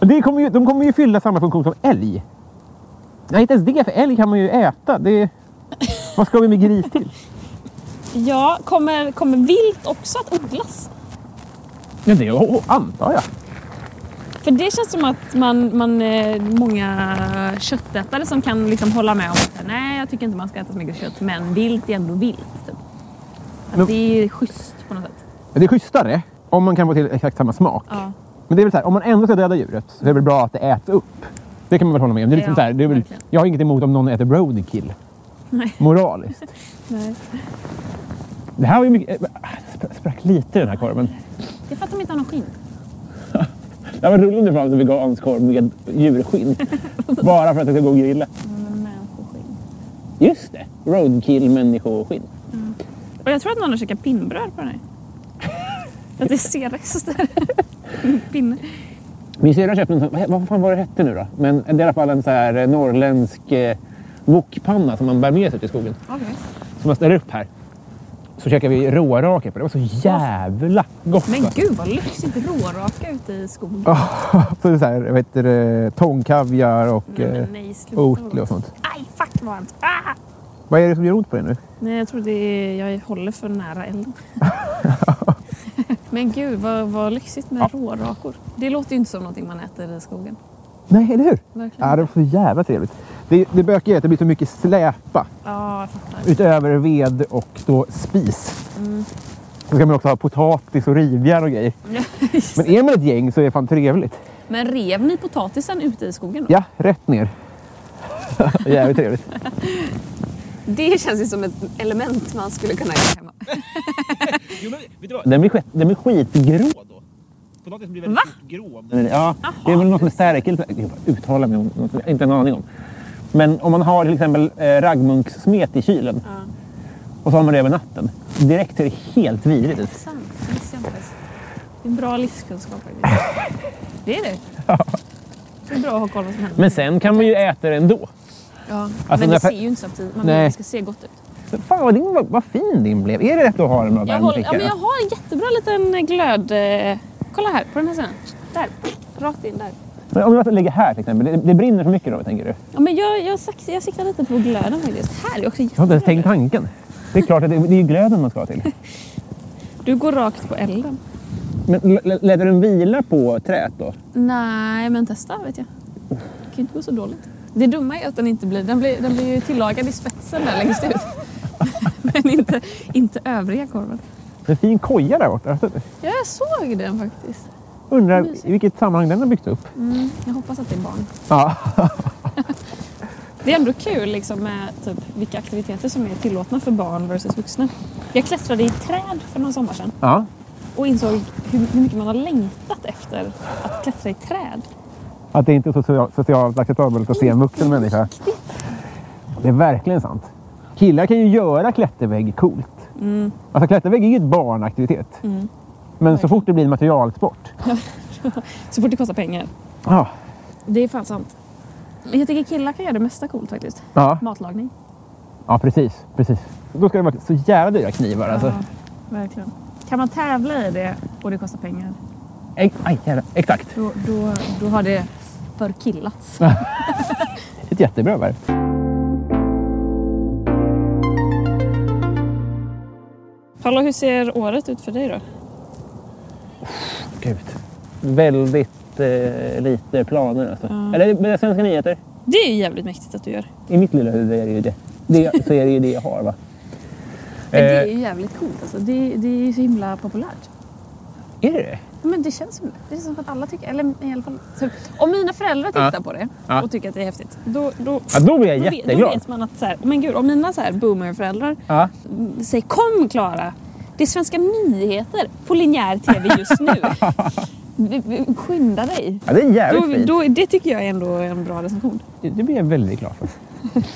C: Det kommer ju, de kommer ju fylla samma funktion som älg. Nej, inte ens det, för älg kan man ju äta. Det, vad ska vi med gris till?
D: Ja, kommer, kommer vilt också att odlas?
C: Ja, det oh, antar jag.
D: För det känns som att man, man eh, många köttätare som kan liksom hålla med om att nej, jag tycker inte man ska äta så mycket kött, men vilt är ändå vilt. Typ. Att
C: Men-
D: det är schysst på något sätt.
C: Men det är schysstare om man kan få till exakt samma smak.
D: Ja.
C: Men det är väl så här, om man ändå ska döda djuret så är det väl bra att det äts upp. Det kan man väl hålla med om. Det är liksom
D: Ja,
C: så här, det är väl,
D: verkligen.
C: jag har inget emot om någon äter roadkill.
D: Nej.
C: Moraliskt.
D: Nej.
C: Det här var ju mycket... eh, Det sprack lite i den här korven.
D: Det är för att de inte har någon skinn.
C: Det här var rullande fram som vegansk korv med djurskinn. Bara för att det ska gå att grilla.
D: Men människoskinn.
C: Just det! Roadkill, människoskinn.
D: Och jag tror att någon har käkat pinnbröd på den här. För att det ser rester. Pinne.
C: Min syrra köpte en sån, vad- vad fan var det hette nu då? Men det är i alla fall en så här eh, norrländsk eh, wokpanna som man bär med sig till skogen.
D: Okay.
C: Som man ställer upp här. Så käkar vi rårake på det. Det var så jävla gott!
D: Men
C: alltså.
D: gud vad lyxigt råraka ute i skogen.
C: Så det är så här, vad heter det, tångkaviar och
D: Nej,
C: eh,
D: men nej, sluta.
C: oatly och sånt.
D: Aj, fuck vad varmt. Ah!
C: Vad är det som gör ont på dig nu?
D: Nej, jag tror det är, jag håller för nära elden. Men gud, vad, vad lyxigt med rårakor. Det låter ju inte som någonting man äter i skogen.
C: Nej, eller hur?
D: Verkligen.
C: Ja, det var så jävla trevligt. Det, det bökiga är att det blir så mycket släpa.
D: Ja, jag fattar.
C: utöver ved och då spis.
D: Mm.
C: Så ska man också ha potatis och rivjärn och grejer. Men är man ett gäng så är det fan trevligt.
D: Men rev ni potatisen ute i skogen? då?
C: Ja, rätt ner. Jävligt trevligt.
D: Det känns ju som ett element man skulle kunna göra hemma.
E: Jo, men vet du vad?
C: Den blir, skit, den blir skitgrå.
E: Grå då. Potatisen blir väldigt
D: Va?
E: fort grå. om den-
C: Ja, det är väl något med stärkelse. Gud, vad jag uttalar mig om något jag inte har en aning om. Men om man har till exempel eh, raggmunkssmet i kylen och så har man det över natten. Direkt ser det helt vidrigt ut.
D: Sant, det visste jag inte ens. Det är en bra livskunskap faktiskt. Det är det. Det är bra att ha koll på vad som händer.
C: Men sen kan man ju äta det ändå.
D: ja.
C: när
D: Men det
C: jag-
D: ser ju inte så att man vill
C: Nej.
D: att det ska se gott ut.
C: Fan vad, din, vad, vad fin din blev. Är det rätt att ha den bra
D: Jag,
C: värme
D: håller,
C: tycker
D: ja, men
C: jag?
D: jag har en jättebra liten glöd... Eh, kolla här, på den här sidan. Där. Rakt in där.
C: Men om jag lägger här till exempel, det, det brinner för mycket då tänker du?
D: Ja, men jag, jag, sax- jag siktar lite på glöden faktiskt. Här är
C: Jag har inte
D: också jättebra.
C: ens tänkt
D: glöd.
C: tanken. Det är klart att det, det är ju glöden man ska ha till.
D: Du går rakt på elden.
C: Men l- l- lät du den vila på träet då?
D: Nej, men testa vet jag. Det kan ju inte gå så dåligt. Det dumma är att den inte blir... Den blir, den blir ju tillagad i spetsen där längst ut. men inte, inte övriga korven.
C: En fin koja där borta. Jag
D: Ja, jag såg den faktiskt.
C: Undrar i vilket sammanhang den har byggts upp.
D: Jag hoppas att det är barn.
C: Ja.
D: Det är ändå kul liksom, med typ, vilka aktiviteter som är tillåtna för barn versus vuxna. Jag klättrade i ett träd för någon sommar sedan
C: ja.
D: och insåg hur, hur mycket man har längtat efter att klättra i träd.
C: Att det inte är social, socialt acceptabelt att se en vuxen människa. Det är verkligen sant. Killar kan ju göra klättervägg coolt. Alltså klättervägg är ju ett barnaktivitet. Men så fort det blir en materialsport.
D: Så fort det kostar pengar.
C: Ja.
D: Det är fan sant. Men Jag tycker killar kan göra det mesta coolt faktiskt.
C: Ja.
D: Matlagning.
C: ja, precis. precis. Då ska det vara så jävla dyra knivar alltså.
D: verkligen. Kan man tävla i det och det kostar pengar,
C: Ex- Aj, jävlar. Exakt.
D: då, då, då har det förkillats.
C: Ett jättebra värv.
D: Hallå, hur ser året ut för dig då?
C: Gud. Väldigt
G: lite, eh, lite planer. Alltså. Eller men det är svenska nyheter.
D: Det är ju jävligt mäktigt att du gör.
G: I mitt lilla huvud är det ju det. det så är det ju det jag har. Va?
D: Men det är
G: Eh,
D: ju jävligt coolt alltså. Det, det är ju så himla populärt.
G: Eh, är det det?
D: Ja, Men det känns som det. Det är som att alla tycker, eller i alla fall. Så, om mina föräldrar tittar på det
G: Ja.
D: och tycker att det är häftigt. Då, då,
G: Ja, då blir jag
D: vet-
G: jätteglad.
D: Då vet man att så här, men gud, om mina så här boomerföräldrar
G: Ja.
D: säger kom Klara, det är svenska nyheter på linjär tv just nu. Vi- vi- Skynda dig.
G: Ja, det är jävligt
D: Då,
G: fint.
D: då, det tycker jag är ändå är en bra recension.
G: Det- Det blir jag väldigt glad för.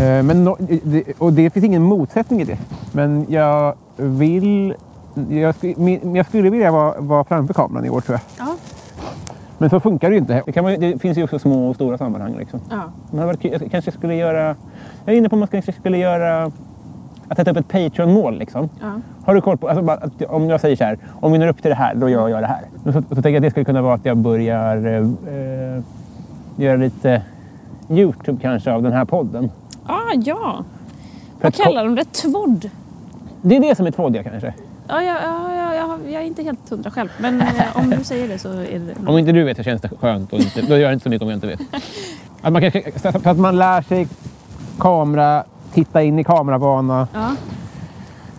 C: Eh, Men no- det- och det finns ingen motsättning i det. Men jag vill... Jag, sk- min- jag skulle vilja vara, vara framför kameran i år tror jag.
D: Ja.
C: Men så funkar det ju inte.
G: Det, kan man, ju- det finns ju också små och stora sammanhang. Liksom.
D: Ja.
G: Man har varit, kul- jag kanske skulle göra... Jag är inne på att man kanske skulle göra... Att sätta upp ett Patreon-mål. Liksom.
D: Ja.
G: Har du koll på... Alltså, bara, att, om jag säger så här, om vi når upp till det här, då gör jag det här. Så, så tänker jag att det skulle kunna vara att jag börjar eh, eh, göra lite YouTube kanske av den här podden.
D: Ah, ja. Vad kallar de det? Tvådd?
G: Det är det som är tvådiga kanske.
D: Ja, jag, ja, ja, jag, jag är inte helt hundra själv, men eh, om du säger det så är det
G: Om inte du vet så känns det skönt. Och inte, då gör det inte så mycket om jag inte vet.
C: Att man kanske, så att- så att man lär sig kamera, titta in i kameravana
D: Ja.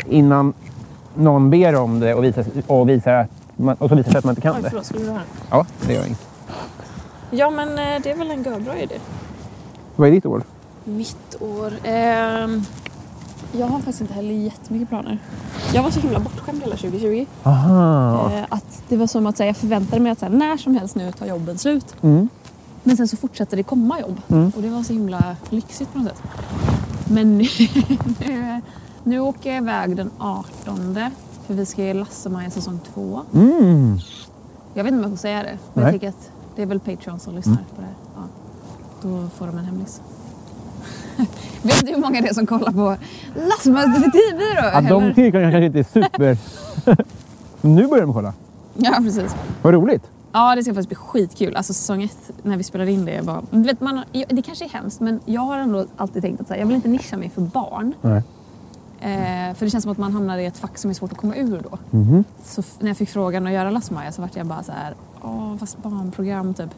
C: innan någon ber om det och visar, och visar att man, och så visar det sig att man inte kan
D: Oj,
C: det.
D: förlåt, skulle du höra?
C: Ja, det gör inget.
D: Ja, men eh, det är väl en görbra idé.
C: Vad är ditt ord?
D: Mitt år... ehm, jag har faktiskt inte heller jättemycket planer. Jag var så himla bortskämd hela 2020. Eh, att det var som att så här, jag förväntade mig att så här, när som helst nu tar jobben slut. Men sen så fortsatte det komma jobb. Och det var så himla lyxigt på något sätt. Men nu, nu, nu åker jag iväg den 18. För vi ska ge Lasse-Maja säsong två.
C: Mm.
D: Jag vet inte om jag får säga det. Men
C: Nej.
D: jag
C: Mm.
D: tycker att det är väl Patreon som lyssnar på det här. Ja. Då får de en hemlis. vet du hur många det är som kollar på Lasse-Majas detektivbyrå?
C: Att de
D: Eller-
C: tycker kanske inte är super... nu börjar de kolla.
D: Ja, precis.
C: Vad roligt.
D: Ja, det ska faktiskt bli skitkul. Alltså säsong ett, när vi spelade in det, var... Du vet, man har... ja, det kanske är hemskt, men jag har ändå alltid tänkt att så här, jag vill inte nischa mig för barn.
C: Nej.
D: Eh, för det känns som att man hamnar i ett fack som är svårt att komma ur då. Så f- när jag fick frågan att göra Lasse-Maja så vart jag bara så här, åh, fast barnprogram typ.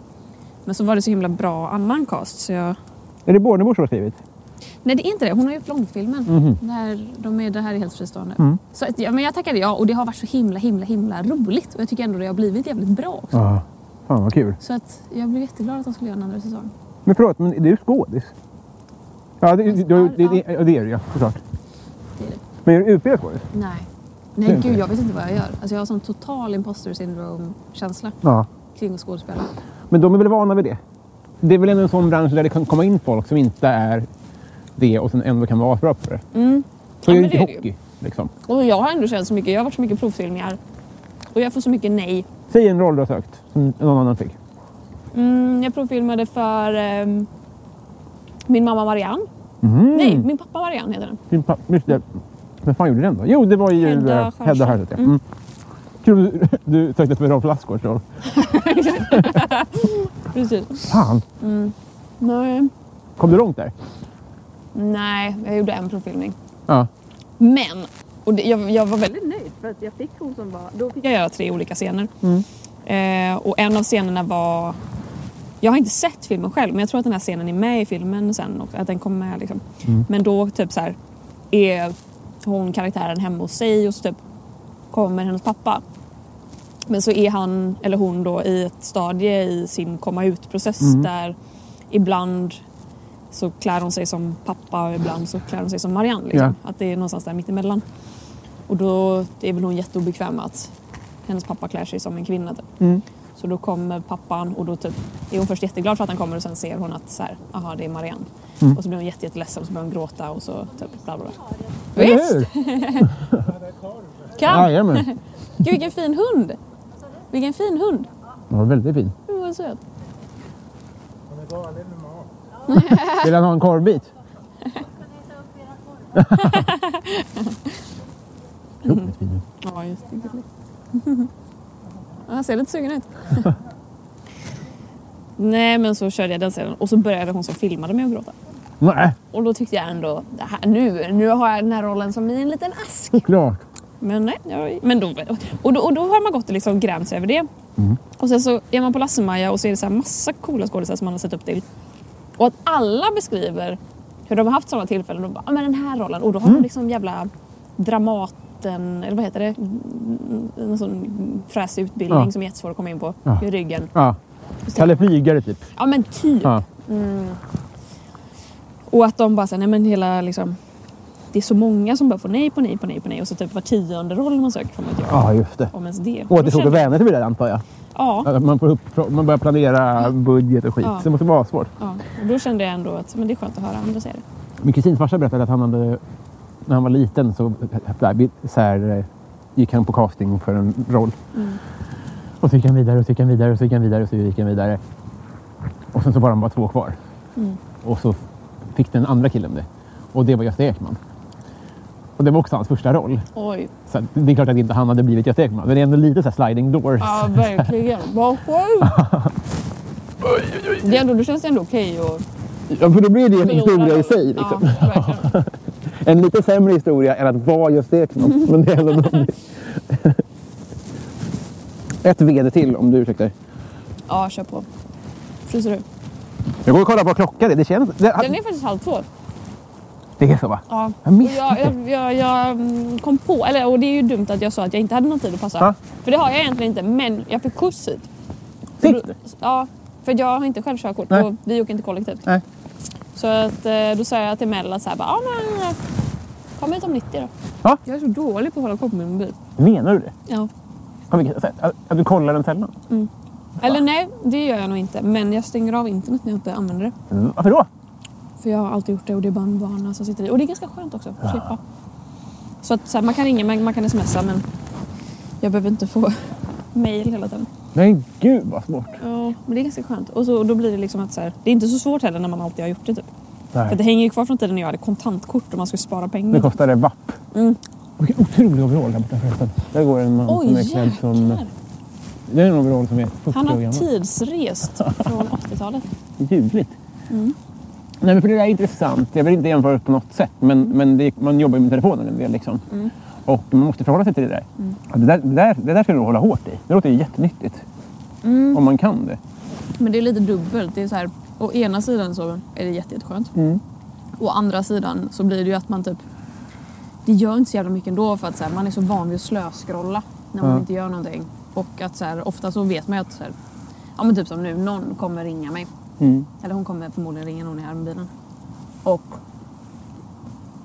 D: Men så var det så himla bra annan cast så jag...
C: Är det Bornebusch som har skrivit?
D: Nej, det är inte det. Hon har gjort långfilmen. När de är, det här är helt fristående. Så att, ja, men jag tackade ja och det har varit så himla, himla, himla roligt. Och jag tycker ändå det har blivit jävligt bra också.
C: Ja. Fan vad kul.
D: Så att jag blev jätteglad att de skulle göra en andra säsong.
C: Men förlåt, men är du skådis? Ja, det, det, det, det, det, ja, det är du ja, såklart. Men är du utbildad skådis?
D: Nej. Nej, gud jag vet inte vad jag gör. Alltså jag har sån total imposter syndrome-känsla
C: Ja.
D: kring att skådespela.
C: Men de är väl vana vid det? Det är väl ändå en sån bransch där det kan komma in folk som inte är det och som ändå kan vara asbra på det. Så
D: Mm. Ja,
C: är det
D: men
C: inte
D: det är det ju.
C: hockey. Liksom.
D: Och jag har ändå känt så mycket, jag har varit så mycket provfilmningar. Och jag får så mycket nej.
C: Säg en roll du har sökt som någon annan fick.
D: Mm, jag provfilmade för ehm, min mamma Marianne. Nej, min pappa Marianne heter den.
C: Din pa- just det. Vem fan gjorde den då? Jo, det var ju
D: Hedda
C: eh,
D: Stjernström.
C: Hedda Stjernström. ja. Mm. Kul du, du sökte för Rolf Lassgårds roll.
D: Precis.
C: Fan,
D: Nej.
C: kom du långt där?
D: nej, jag gjorde en provfilmning.
C: Ja.
D: Men, och det, jag, jag var väldigt nöjd för att jag fick hon som var... Då fick jag göra tre olika scener. Eh, och en av scenerna var... Jag har inte sett filmen själv men jag tror att den här scenen är med i filmen sen och att den kommer med liksom. Men då typ så här är hon karaktären hemma hos sig och så typ kommer hennes pappa. Men så är han eller hon då i ett stadie i sin komma ut-process där ibland så klär hon sig som pappa och ibland så klär hon sig som Marianne. Liksom. Att det är någonstans där mittemellan. Och då är väl hon jätteobekväm med att hennes pappa klär sig som en kvinna. Typ. Så då kommer pappan och då typ, är hon först jätteglad för att han kommer och sen ser hon att så här, aha, det är Marianne. Och så blir hon jätte, jätteledsen och så börjar hon gråta och så typ bla bla bla. Visst! Kan!
C: Jajamän,
D: Gud vilken fin hund! Vilken fin hund!
C: den var väldigt fin.
D: Gud vad söt.
C: Vill han ha en korvbit? Otroligt fin.
D: Ja, just det. gulligt. Ja, Han ser lite sugen ut. Nej, men så körde jag den scenen och så började hon som filmade mig att gråta.
C: Nej,
D: Och då tyckte jag ändå, det här, nu, nu har jag den här rollen som i en liten ask.
C: såklart.
D: Men nej, jag, men då, och, då, och då har man gått och liksom grämts över det.
C: Mm.
D: Och sen så är man på Lasse-Maja och så är det så här massa coola skådisar som man har sett upp till. Och att alla beskriver hur de har haft sådana tillfällen. De bara, ah, men den här rollen. Och då har
C: Mm.
D: de liksom jävla Dramaten, eller vad heter det? Mm, En sån fräsig utbildning
C: Ja.
D: som är jättesvår att komma in på
C: Ja.
D: i ryggen.
C: Ja. Kalle Flygare typ.
D: Ja men typ.
C: Ja.
D: Och att de bara säger nej men hela liksom det är så många som bara får nej på nej på nej på nej och så typ var tionde roll man söker får man inte göra.
C: Ja, just det.
D: Om ens det.
C: Och att det
D: Då
C: såg
D: känner-
C: vänner till det där antar jag.
D: Ja,
C: Att man, får upp, man börjar planera budget och skit.
D: Ja.
C: Så det måste vara svårt.
D: ja. Och då kände jag ändå att men det är skönt att höra andra säga det.
C: Min kusins farsa berättade att han hade, när han var liten så, så här, eh, gick han på casting för en roll.
D: Mm.
C: Och så gick han vidare och så gick han vidare och så gick han vidare och så gick han vidare. Och sen så var han bara två kvar.
D: Mm.
C: Och så fick den andra killen det. Och det var Gösta Ekman. Och det var också hans första roll.
D: Oj,
C: Så att det är klart att inte han hade blivit Gösta Ekman. Men det är ändå lite så här sliding doors.
D: ja verkligen. Vad sjukt! Det är ändå, då känns det ändå okej att
C: Ja, för då blir det en
D: förlora
C: historia i
D: rollen.
C: sig. Liksom.
D: Ja, verkligen.
C: En lite sämre historia än att vara just Ekman. Men det är ändå någonting.
H: Ett vd till om du ursäktar.
D: ja, kör på. Fryser du?
H: Jag går och kollar på klockan. Det, det känns... Det,
D: Den är faktiskt halv två.
H: det är så va?
D: Ja.
H: Jag
D: Och
H: missade.
D: jag, jag, jag, jag mm, kom på, eller, och det är ju dumt att jag sa att jag inte hade någon tid att passa.
H: Ja.
D: För det har jag egentligen inte, men jag fick skjuts hit.
H: Fick
D: Och då-
H: du?
D: Ja, för jag har inte själv körkort
H: Nej.
D: och vi åker inte kollektivt.
H: Nej.
D: Så att, eh, då sa jag till Mel att så här, bara, ja, men, eh, kom hit om 90 då.
C: Ja.
D: Jag är så dålig på att hålla koll på min mobil.
C: Menar du det?
D: Ja.
C: På vilket sätt? Att, att du kollar den sällan?
D: Eller nej, det gör jag nog inte. Men jag stänger av internet när jag inte använder det.
C: Mm. Varför då?
D: För jag har alltid gjort det och det är bara en vana som sitter i. Och det är ganska skönt också att slippa. Så att så här, man kan ringa, man, man kan smsa men jag behöver inte få mail hela tiden.
C: Nej, gud vad smart.
D: Ja, men det är ganska skönt. Och, så, och då blir det liksom att så här, det är inte så svårt heller när man alltid har gjort det typ. För att det hänger ju kvar från tiden när jag hade kontantkort och man skulle spara pengar.
C: Nu kostar det vapp.
D: Mm.
C: Vilken otrolig overall där borta förresten. Där går en man som är
D: Oj
C: klädd som...
D: jäklar!
C: Det är en overall som är 40
D: Han
C: år
D: har
C: gammal.
D: tidsrest från 80-talet.
C: Ljuvligt. Nej, men för det där är intressant. Jag vill inte jämföra det på något sätt. Men, men det, man jobbar ju med telefonen en del. Liksom. Och man måste förhålla sig till det där. Ja, Det, där, det, där det där ska du hålla hårt i. Det låter ju jättenyttigt. Om man kan det.
D: Men det är lite dubbelt. Det är så här, å ena sidan så är det jätte, jätteskönt. Å andra sidan så blir det ju att man typ... Det gör inte så jävla mycket ändå för att så här, man är så van vid att slöskrolla när man inte gör någonting. Och att så här, ofta så vet man ju att så här, Ja men typ som nu, någon kommer ringa mig. Eller hon kommer förmodligen ringa någon i armbilen. Och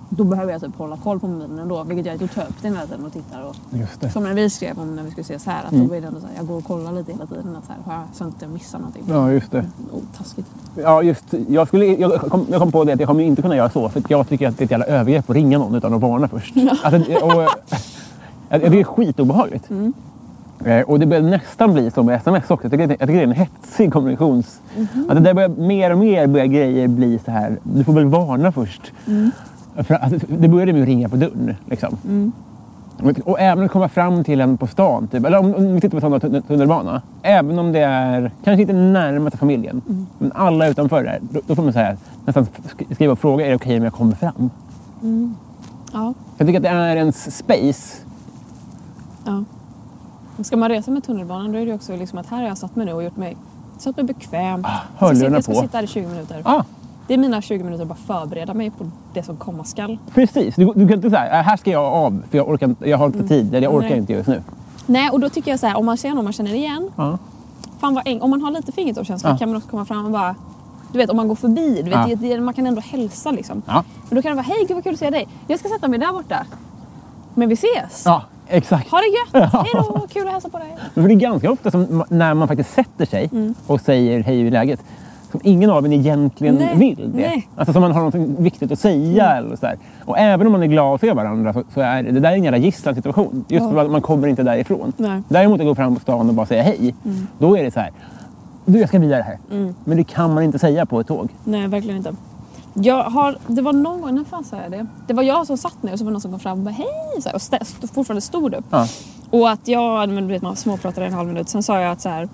D: då behöver jag typ hålla koll på mobilen ändå, vilket gör att jag tar upp den hela tiden och tittar. Och,
C: Just det.
D: som när vi skrev om när vi skulle ses här, att
C: Mm.
D: då är det ändå så här, jag går och kollar lite hela tiden att så, här, har jag- så att jag inte missar någonting.
C: Ja, just det.
D: Oh, taskigt.
C: Ja, just, jag, skulle, jag, kom, jag kom på det att jag kommer ju inte kunna göra så. För att jag tycker att det är ett jävla övergrepp att ringa någon utan att varna först. Alltså, och, jag, jag tycker det är skitobehagligt. Eh, Och det börjar nästan bli som med sms också. Jag tycker, det- jag tycker det är en hetsig kommunikations... Att det där börjar, mer och mer börjar grejer bli så här. Du får väl varna först. För, att- alltså, det började med att ringa på dörren. Liksom. Och, och även att komma fram till en på stan. Typ. Eller om, om vi tittar på sådana tunnel, tunnelbana. Även om det är, kanske inte närmaste familjen, men alla utanför där. Då, då får man så här, nästan sk- skriva och fråga, är det okej om jag kommer fram?
D: Ja,
C: Jag tycker att det är ens space.
D: ja. Men Ska man resa med tunnelbanan då är det ju också liksom att här har jag satt mig nu och gjort mig, satt mig bekväm. jag, ska, sitta-
C: Ah, hörlurarna
D: jag ska
C: på.
D: sitta här i 20 minuter.
C: Ah,
D: Det är mina 20 minuter att bara förbereda mig på det som komma skall.
C: precis, du, du kan inte säga, här ska jag av för jag, orkar, inte- jag har inte tid, eller jag orkar
D: Nej.
C: inte just nu.
D: Nej, och då tycker jag så här, om man ser någon man känner igen.
C: Ja.
D: Fan vad eng. Om man har lite fingertoppskänsla
C: Ja.
D: kan man också komma fram och bara du vet om man går förbi, du vet,
C: Ja.
D: det- det, man kan ändå hälsa liksom.
C: Ja.
D: Men då kan det vara, hej gud vad kul att se dig. Jag ska sätta mig där borta. Men vi ses.
C: ja, exakt.
D: Ha det gött. Hej då, kul att hälsa på dig.
C: Men För det är ganska ofta som ma- när man faktiskt sätter sig
D: Mm.
C: och säger hej hur är läget? Som ingen av en egentligen
D: Nej,
C: vill det.
D: nej. Mm.
C: Alltså som man har något viktigt att säga. Eller så där. Och även om man är glad att se varandra så, så är det, det där är en jävla gisslansituation. Just
D: Ja.
C: för att man kommer inte därifrån.
D: Nej. Mm.
C: Däremot att gå fram på stan och bara säga hej. Då är det så här. Du, jag ska vidare här. Men det kan man inte säga på ett tåg.
D: Nej, verkligen inte. Jag har, det var någon gång, när fan sa jag det? Det var jag som satt ner och så var det någon som kom fram och bara hej så här, och st- st- fortfarande stod upp.
C: Ja.
D: Och att jag, men du vet man småpratade en halv minut, sen sa jag att så här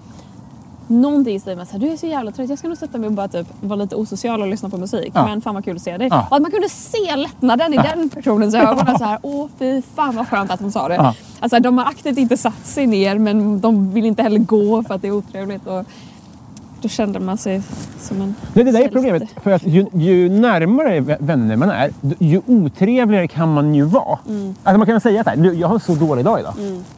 D: Någonting i stil med att du är så jävla trött, jag ska nog sätta mig och bara typ vara lite osocial och lyssna på musik.
C: Ja.
D: Men fan vad kul att se dig.
C: Ja.
D: Och att man kunde se lättnaden i den personens ögon. och Så här, Åh fy fan vad skönt att hon sa det.
C: Ja.
D: Alltså, de har aktivt inte satt sig ner men de vill inte heller gå för att det är otrevligt. Och då kände man sig som en
C: Nej, det där är
D: hjälte.
C: problemet. För att ju, ju närmare vä- vänner man är, d- ju otrevligare kan man ju vara.
D: Mm.
C: Alltså man kan säga så här, "Du, jag har en så dålig dag idag.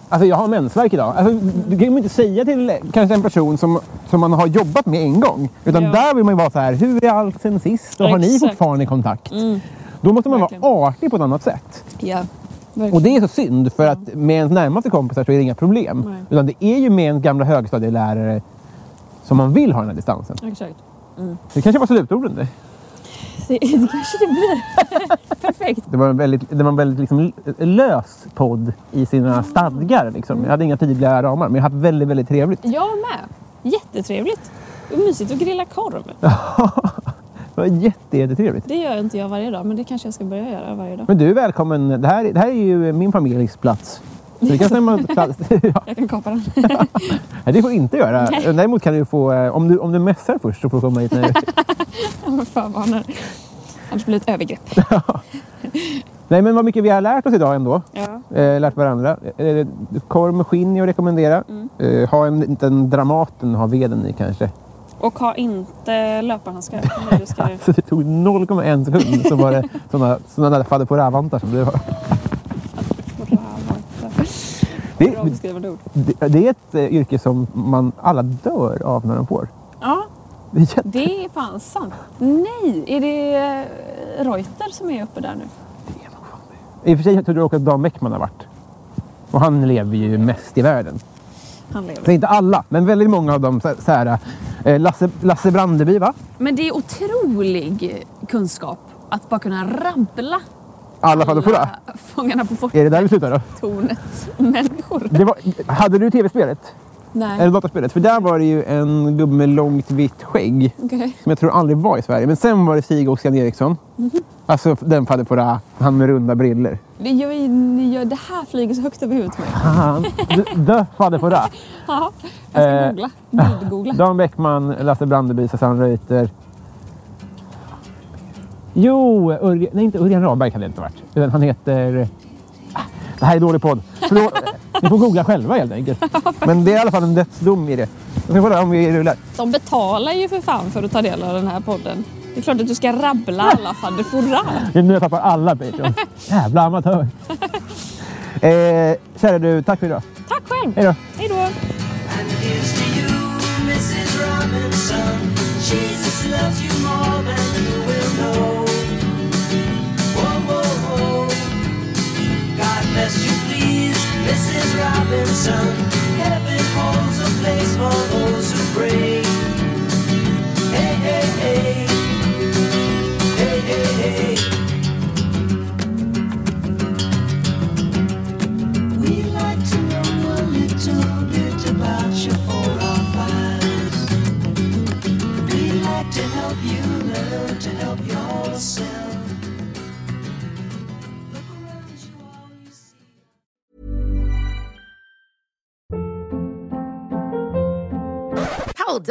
C: Alltså jag har mensvärk idag. Alltså, det kan man inte säga till kanske en person som, som man har jobbat med en gång. Utan
D: Ja.
C: där vill man ju vara så här, hur är allt sen sist? Och har ni
D: Exakt. Mm.
C: fortfarande kontakt? Då måste man
D: Verkligen.
C: vara artig på ett annat sätt.
D: Ja,
C: Och
D: verkligen.
C: det är så synd för att med ens närmaste kompisar så är det inga problem.
D: Nej.
C: Utan det är ju med ens gamla högstadielärare som man vill ha den här distansen.
D: Exakt.
C: Det kanske var slutorden det.
D: Det, det kanske det blir. Perfekt.
C: Det var en väldigt, det var en väldigt liksom lös podd i sina stadgar. Liksom. Jag hade inga tydliga ramar men jag har haft väldigt, väldigt trevligt.
D: Jag med. Jättetrevligt. Och mysigt att grilla korv.
C: Det var jätte, jättetrevligt.
D: Det gör inte jag varje dag, men det kanske jag ska börja göra varje dag.
C: Men du är välkommen. Det här, det här är ju min familjs plats. Så du kan stämma plats. Ja,
D: Jag kan kapa den.
C: det får du inte göra.
D: Nej.
C: Däremot kan du få, eh, om du, om du mässar först så får du komma hit när,
D: Jag förvarnar. Annars blir det ett övergrepp.
C: Nej, men vad mycket vi har lärt oss idag ändå.
D: Ja.
C: Eh, lärt varandra. Eh, korv med skinn är att rekommendera. Eh, ha en liten Dramaten, ha veden i kanske.
D: Och ha inte löparhandskar. Nej, det ska du-
C: Så det tog 0,1 sekund så var det sådana, sådana där fadder på rävvantar som du har. Det,
D: Bra beskrivande ord.
C: det, det är ett eh, yrke som man alla dör av när de får.
D: Ja,
C: Det är jätte-
D: det är fan sant. Nej, är det eh, Reuter som är uppe där nu?
C: I och för sig tror jag också att Dan Bäckman har varit. Och han lever ju mest i världen.
D: Han
C: Så
D: lever.
C: inte alla, men väldigt många av dem. Så, så här, eh, Lasse, Lasse Brandeby va?
D: Men det är otrolig kunskap att bara kunna rabbla
C: Alla fadder på räv.
D: alla Fångarna på
C: Är det där vi slutar då?
D: fortet-tornet-människor.
C: Det var, hade du tv-spelet? Eller
D: Nej,
C: dataspelet? För där var det ju en gubbe med långt vitt skägg.
D: okej.
C: Som jag tror aldrig var i Sverige. Men sen var det Stig och Scan Eriksson. Alltså den fader på det, han med runda briller.
D: Det, gör ju- ni gör- det här flyger så högt över huvudet på mig.
C: Han, the fader på det.
D: Ja, jag ska
C: Eh,
D: googla. Bildgoogla.
C: Dan Bäckman, Lasse Brandeby, Susanne Reuter. Jo, Örjan, nej inte Örjan Raberg kan det inte ha varit. Utan han heter... Ah, Det här är dålig podd. Förlåt, ni får googla själva helt enkelt. Men det är i alla fall en dödsdom i det. Jag ska kolla om vi rullar.
D: De betalar ju för fan för att ta del av den här podden. Det är klart att du ska rabbla alla fadderfora.
C: Det är nu jag tappar alla Patreon. Jävla amatör. Eh, kära du, tack för idag.
D: Tack själv!
C: Hej då.
D: Hej då!
I: And here's to you, Mrs. Robinson. Jesus loves you more than you will know. Whoa, whoa, whoa. God bless you, please, Mrs. Robinson. Heaven holds a place for those who pray. Hey, hey, hey. Hey, hey, hey. We like to know a little bit about your files. We like to help you learn to help yourself. Look around you, all you see.
J: Hold